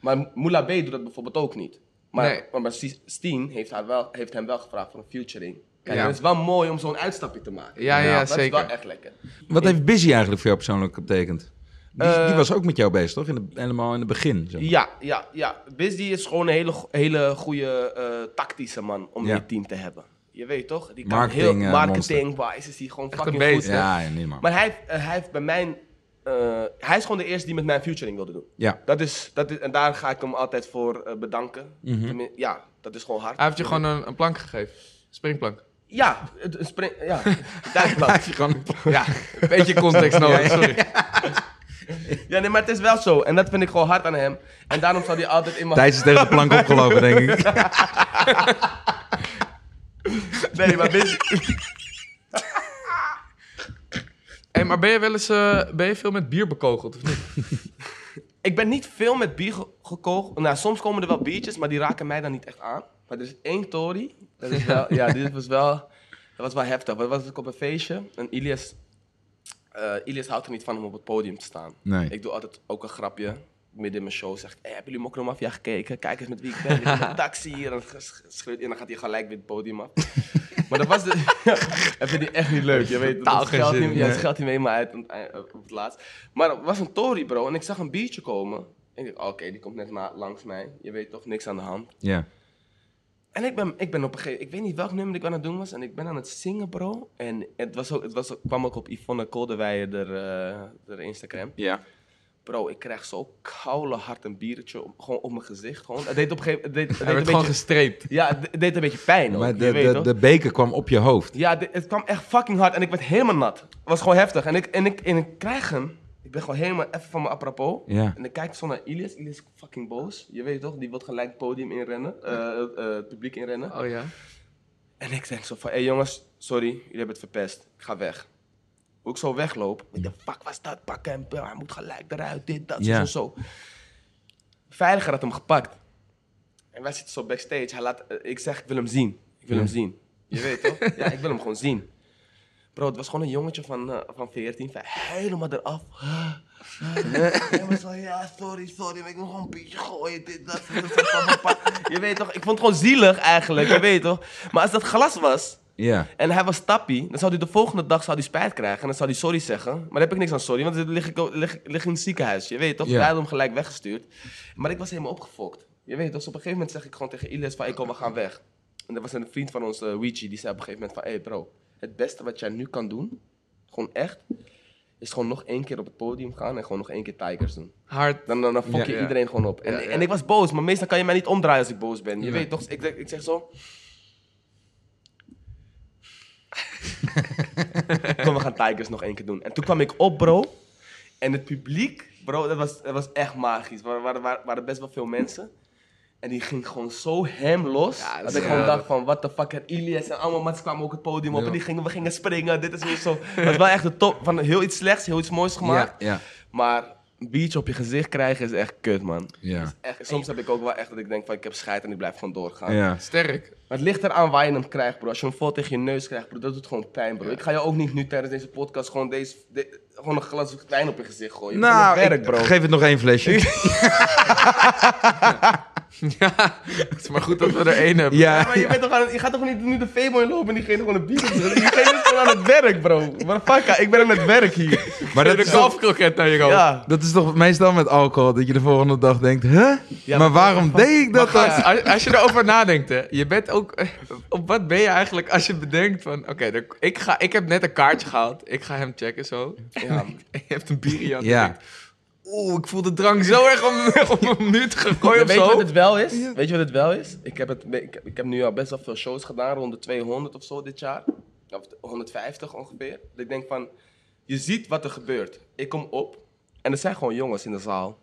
S2: Maar Moula B doet dat bijvoorbeeld ook niet. Maar,
S8: Nee.
S2: maar, maar Stie- Steen heeft, haar wel, heeft hem wel gevraagd voor een featuring. Kijk,
S8: Ja.
S2: het is wel mooi om zo'n uitstapje te maken.
S8: Ja, ja,
S2: dat
S8: zeker.
S2: is wel echt lekker.
S7: Wat heeft Busy eigenlijk voor jou persoonlijk betekend? Die,
S2: Eh,
S7: die was ook met jou bezig, toch? In de- helemaal in het begin. Zo.
S2: Ja, ja, ja. Busy is gewoon een hele, go- hele goede eh, tactische man om
S7: Ja.
S2: die team te hebben. Je weet toch? Die kan
S7: Marketing,
S2: heel
S7: eh,
S2: marketing-wise is hij gewoon fucking
S8: een
S2: goed.
S8: beest,
S7: Ja, ja, niet normaal.
S2: Maar hij, heeft- eh, hij heeft bij mijn... eh, hij is gewoon de eerste die met mijn featuring wilde doen.
S7: Ja.
S2: Dat is, dat is, en daar ga ik hem altijd voor eh, bedanken. Tenmin- Ja, dat is gewoon hard.
S8: Mhm. Hij heeft je gewoon een, een plank gegeven. Springplank.
S2: Ja, het een spring... Ja, duikplank.
S8: Ja, een beetje context nodig, sorry.
S2: Ja, nee, maar het is wel zo. En dat vind ik gewoon hard aan hem. En daarom zal hij altijd in mijn...
S7: Thijs is tegen de plank opgelopen, denk ik.
S2: Nee, maar Busy...
S8: Hey, maar ben je wel eens eh, ben je veel met bier bekogeld of niet?
S2: Ik ben niet veel met bier ge- gekogeld. Nou, soms komen er wel biertjes, maar die raken mij dan niet echt aan. Maar er is één Tory. Dat is wel... Ja, dit was wel... Dat was wel heftig. Dat was ik op een feestje. En Ilias... eh, Ilias houdt er niet van om op het podium te staan.
S7: Nee.
S2: Ik doe altijd ook een grapje. Midden in mijn show zeg ik, hey, hebben jullie Mokro Mafia gekeken? Kijk eens met wie ik ben. Ik ben op een taxi hier. En dan sch- schreeuwt hij en dan gaat hij gelijk weer het podium af. maar dat was de... dat vind ik echt niet leuk. Je weet,
S8: Totaal
S2: dat
S8: geen
S2: geldt
S8: zin,
S2: niet, ja, dat
S8: nee.
S2: geldt niet mee, maar uit aan het eind- op het laatst. Maar het was een Tory, bro. En ik zag een biertje komen. En ik dacht, oké, die komt net na, langs mij. Je weet toch, niks aan de hand.
S7: Ja.
S2: En ik ben, ik ben op een gegeven ik weet niet welk nummer ik aan het doen was. En ik ben aan het zingen, bro. En het, was ook, het was, ook- kwam ook op Yvonne Kolderweijer, de, eh, de Instagram.
S7: Ja.
S2: Bro, ik kreeg zo koude hard een biertje op, gewoon op mijn gezicht. Gewoon. Het deed op een gegeven moment... Het deed,
S8: Hij werd
S2: het deed een
S8: gewoon
S2: beetje,
S8: gestreept.
S2: ja, het het deed een beetje pijn ook,
S7: Maar
S2: je
S7: de,
S2: weet
S7: de,
S2: toch?
S7: de beker kwam op je hoofd.
S2: Ja, dit- het kwam echt fucking hard en ik werd helemaal nat. Het was gewoon heftig. En ik, en ik, en ik krijg hem. Ik ben gewoon helemaal even van mijn apropos.
S7: Ja.
S2: En ik kijk zo naar Ilias. Ilias is fucking boos. Je weet toch, die wil gelijk het podium inrennen. eh, eh, eh, het publiek inrennen.
S8: Oh ja.
S2: En ik denk zo van, hé hey jongens, sorry, jullie hebben het verpest. Ik ga weg. Hoe ik zo wegloop, what the fuck was dat? Pak hem, hij moet gelijk eruit, dit, dat,
S7: Ja.
S2: zo, zo. Veiliger had hem gepakt. En wij zitten zo backstage. Hij laat, eh, ik zeg, ik wil hem zien. Ik wil hem zien. Je weet toch? ja, ik wil hem gewoon zien. Bro, het was gewoon een jongetje van, eh, van 14, van helemaal eraf. Hij was van, ja, sorry, sorry, maar ik wil gewoon een beetje gooien, dit, dat, dat, dat, dat, dat, dat. Je weet toch, ik vond het gewoon zielig eigenlijk, je weet toch. Maar als dat glas was
S7: Ja.
S2: en hij was tappie, dan zou hij de volgende dag zou hij spijt krijgen en dan zou hij sorry zeggen. Maar daar heb ik niks aan sorry, want dan lig ik, lig, lig in het ziekenhuis, je weet toch.
S7: Ja.
S2: Daarom gelijk weggestuurd. Maar ik was helemaal opgefokt. Je weet toch, dus op een gegeven moment zeg ik gewoon tegen Iles van, ik kom, we gaan weg. En er was een vriend van ons, eh, Ouija, die zei op een gegeven moment van, hé hey bro, het beste wat jij nu kan doen, gewoon echt, is gewoon nog één keer op het podium gaan en gewoon nog één keer Tigers doen.
S8: Hard.
S2: Dan, dan, dan fok je
S8: Ja, ja.
S2: iedereen gewoon op. En,
S8: Ja, ja.
S2: en ik was boos, maar meestal kan je mij niet omdraaien als ik boos ben. Je weet toch, ik, zeg- ik zeg zo... Kom, we gaan Tigers nog één keer doen. En toen kwam ik op, bro. En het publiek, bro, dat was, dat was echt magisch. Er waren, waren, waren best wel veel mensen. En die ging gewoon zo hem los.
S8: Ja, dat
S2: dat
S8: is
S2: ik gewoon
S8: geweldig.
S2: dacht van, what the fuck, en Ilias en allemaal mensen kwamen ook het podium op.
S7: Ja.
S2: En die gingen, we gingen springen, dit is weer zo. Dat was wel echt de top van heel iets slechts, heel iets moois gemaakt.
S7: Ja, ja,
S2: Maar een biertje op je gezicht krijgen is echt kut, man.
S7: ja.
S2: Echt, soms heb ik ook wel echt dat ik denk van ik heb scheid en ik blijf gewoon doorgaan.
S7: ja.
S8: Sterk.
S2: Maar het ligt eraan waar je hem krijgt, bro. Als je hem vol tegen je neus krijgt, bro, dat doet gewoon pijn, bro. Ik ga je ook niet nu tijdens deze podcast gewoon, deze, de- gewoon een glas wijn op je gezicht gooien.
S7: Nou,
S2: het werk,
S7: ik-
S2: bro.
S7: geef het nog één flesje.
S8: Ja, het is maar goed dat we er één hebben.
S2: Ja,
S7: Ja.
S2: maar je, bent toch aan, het- je gaat toch niet nu de Febo lopen en diegene gewoon een bier op te zetten? Diegene is gewoon aan het werk, bro. Maar fuck, ik ben aan het werk hier.
S7: Maar dat
S8: De
S7: is, toch,
S8: kalfkroket naar je hoofd.
S2: Ja.
S7: dat is toch meestal met alcohol, dat je de volgende dag denkt, huh? maar waarom deed ik dat dan?
S8: Gast, als, als je erover nadenkt, hè, je bent ook. eh, Op wat ben je eigenlijk als je bedenkt van. Oké, er- ik, ga- ik heb net een kaartje gehaald. Ik ga hem checken zo.
S2: Ja,
S8: Je hebt een bier in je hand.
S7: Ja.
S8: Je denkt, Oeh, ik voel de drang zo erg om, om hem nu te gaan gooien
S2: Ja,
S8: of
S2: weet je
S8: zo.
S2: wat het wel is? Weet je wat het wel is? Ik heb, het, ik, heb, ik heb nu al best wel veel shows gedaan, rond de 200 of zo dit jaar. Of 150 ongeveer. Dat ik denk van, je ziet wat er gebeurt. Ik kom op en er zijn gewoon jongens in de zaal.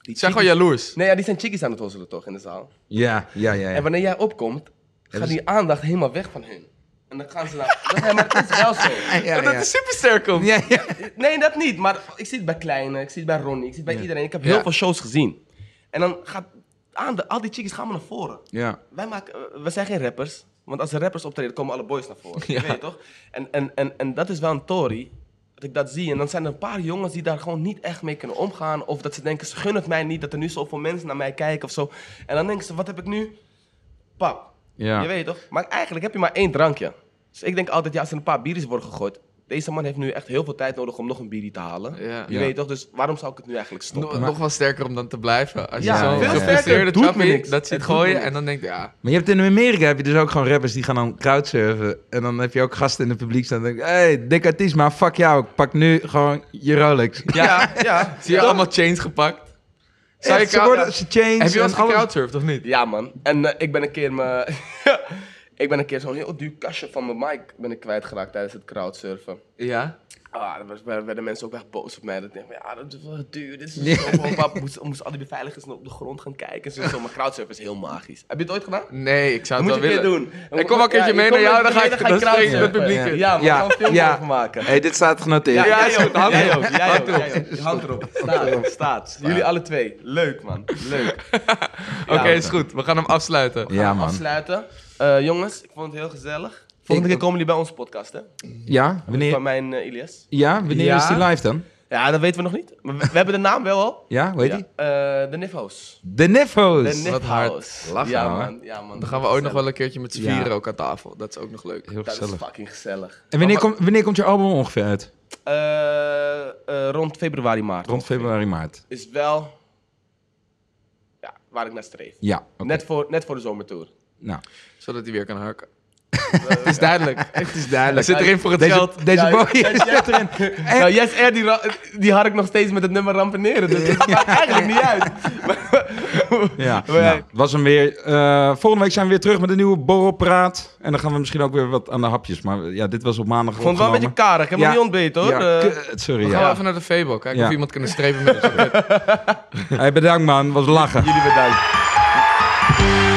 S2: Die
S8: Ik zijn gewoon
S2: chickies-
S8: jaloers.
S2: Nee, ja, die zijn chickies aan het hosselen toch in de zaal.
S7: Ja, ja, ja. ja.
S2: En wanneer jij opkomt, gaat
S7: dus-
S2: die aandacht helemaal weg van hun. En dan gaan ze naar... Dat, nee, maar het is wel zo.
S7: Ja,
S8: dat
S7: ja.
S8: is super sterk om.
S7: Ja, ja.
S2: Nee, dat niet. Maar ik zit bij Kleine, ik zit bij Ronnie, ik zit bij iedereen. Ik heb heel
S8: Ja.
S2: veel shows gezien. En dan gaat... Aan de, al die chickies gaan maar naar voren.
S7: Ja.
S2: Wij maken, eh, we zijn geen rappers. Want als er rappers optreden, komen alle boys naar voren. Je weet je toch? En, en, en, en dat is wel een tory. Dat ik dat zie. En dan zijn er een paar jongens die daar gewoon niet echt mee kunnen omgaan. Of dat ze denken, ze gunnen het mij niet. Dat er nu zoveel mensen naar mij kijken of zo. En dan denken ze, wat heb ik nu? Pap.
S7: Ja.
S2: Je weet toch? Maar eigenlijk heb je maar één drankje. Dus ik denk altijd, ja, als er een paar bieries worden gegooid. Deze man heeft nu echt heel veel tijd nodig om nog een bierie te halen.
S8: Ja.
S2: Je
S7: Ja.
S2: weet toch? Dus waarom zou ik het nu eigenlijk stoppen?
S8: Nog, nog wel sterker om dan te blijven. Als je
S2: Ja,
S8: zo'n
S7: veel
S2: sterker.
S8: gefrustreerde
S2: Doet me
S8: chappie
S2: niks.
S8: dat ziet
S2: Het doet me
S8: gooien
S2: niks.
S8: en dan denkt ja.
S7: Maar je hebt in Amerika heb je dus ook gewoon rappers die gaan dan crowdsurfen. En dan heb je ook gasten in het publiek staan. die denken, hey, dikke artiest, maar fuck jou. Ik pak nu gewoon je Rolex.
S8: Ja, ja. Zie je allemaal chains gepakt? Zou je
S7: Echt, ze
S8: kou-
S7: worden, ze change.
S8: Heb je wel
S7: en
S8: eens
S7: alles.
S8: gecrowdsurfd of niet?
S2: Ja, man. En eh, ik ben een keer mijn... ik ben een keer zo'n heel duur kastje van mijn mic ben ik kwijtgeraakt tijdens het crowdsurfen.
S8: Ja.
S2: Ah, dan werd- werden, mensen ook echt boos op mij. Dat ik dacht, ja, dat is wel duur. Dit is zo gewoon pap. Moest, moest al die beveiligers op de grond gaan kijken. Zo, zo. Maar crowdsurfen is heel magisch. Heb je het ooit gedaan?
S8: Nee, ik zou
S2: Dat moet
S8: het
S2: je een
S8: wel
S2: keer
S8: willen.
S2: doen.
S8: Ik kom wel een keertje
S2: Ja,
S8: mee
S2: je
S8: naar
S2: komt
S8: jou,
S2: met
S8: dan ga
S2: je
S8: ik
S2: mee,
S8: dan
S2: ga je
S8: spring je met het
S2: crowdsurfen.
S8: publiek in.
S2: Ja, maar
S7: Ja,
S2: ja. een film
S7: ja.
S2: over maken.
S7: hey, dit staat genoteerd.
S2: Ja,
S8: Ja,
S2: jij ook,
S8: joh, hand
S2: jij
S8: erop,
S2: ook, jij ook, jij ook. Hand erop. Staat, staat. Jullie alle twee. Leuk, man. Leuk.
S8: Oké, is goed. We gaan hem afsluiten.
S7: Ja, man.
S2: afsluiten. Eh, jongens, ik vond het heel gezellig. Volgende keer komen jullie bij ons podcast, hè?
S7: Ja,
S2: Van
S7: wanneer,
S2: mijn eh, Ilias.
S7: ja, wanneer
S8: Ja.
S7: is die live dan?
S2: Ja, dat weten we nog niet. Maar we, we hebben de naam wel al.
S7: Ja, weet
S2: Ja.
S7: je?
S2: Eh, de Nifhouse.
S7: De
S2: De
S7: Neffos.
S8: hard.
S2: Nifhouse.
S7: Lachen,
S2: ja,
S7: hoor.
S2: man. Ja, man.
S8: Dan gaan we ook nog
S2: Gezellig.
S8: wel een keertje met z'n
S7: Ja.
S8: vieren ook aan tafel. Dat is ook nog leuk.
S7: Heel
S2: Dat is
S7: gezellig.
S2: fucking gezellig.
S7: En wanneer, komt wanneer komt je album ongeveer uit?
S2: Eh, eh, rond februari, maart.
S7: Rond februari, maart.
S2: Is wel... Ja, waar ik naar streef.
S7: Ja, oké.
S2: Net, voor, net voor de zomertour.
S7: Nou,
S8: Zodat hij weer kan harken. Het is duidelijk.
S7: het is duidelijk.
S8: Hij zit erin voor het
S7: deze,
S8: geld.
S7: Deze
S2: Ja,
S7: boy
S2: ja, ja.
S7: zit erin.
S2: Nou, Yes Air, die, ra- die had ik nog steeds met het nummer rampeneren. Dus dat maakt eigenlijk niet uit.
S7: Ja, nou, was hem weer. Eh, volgende week zijn we weer terug met een nieuwe borrelpraat. En dan gaan we misschien ook weer wat aan de hapjes. Maar eh, ja, dit was op maandag
S2: Ik vond het wel een beetje
S7: opgenomen.
S2: karig. Ik heb
S7: Ja.
S2: nog niet ontbeten, hoor.
S7: Ja,
S2: Eh,
S7: kut, sorry.
S8: We gaan
S7: Ja.
S8: wel even naar de Febo. Kijken
S7: Ja.
S8: of iemand kunnen strepen met ons.
S7: Hey, bedankt man, was lachen.
S2: jullie bedankt.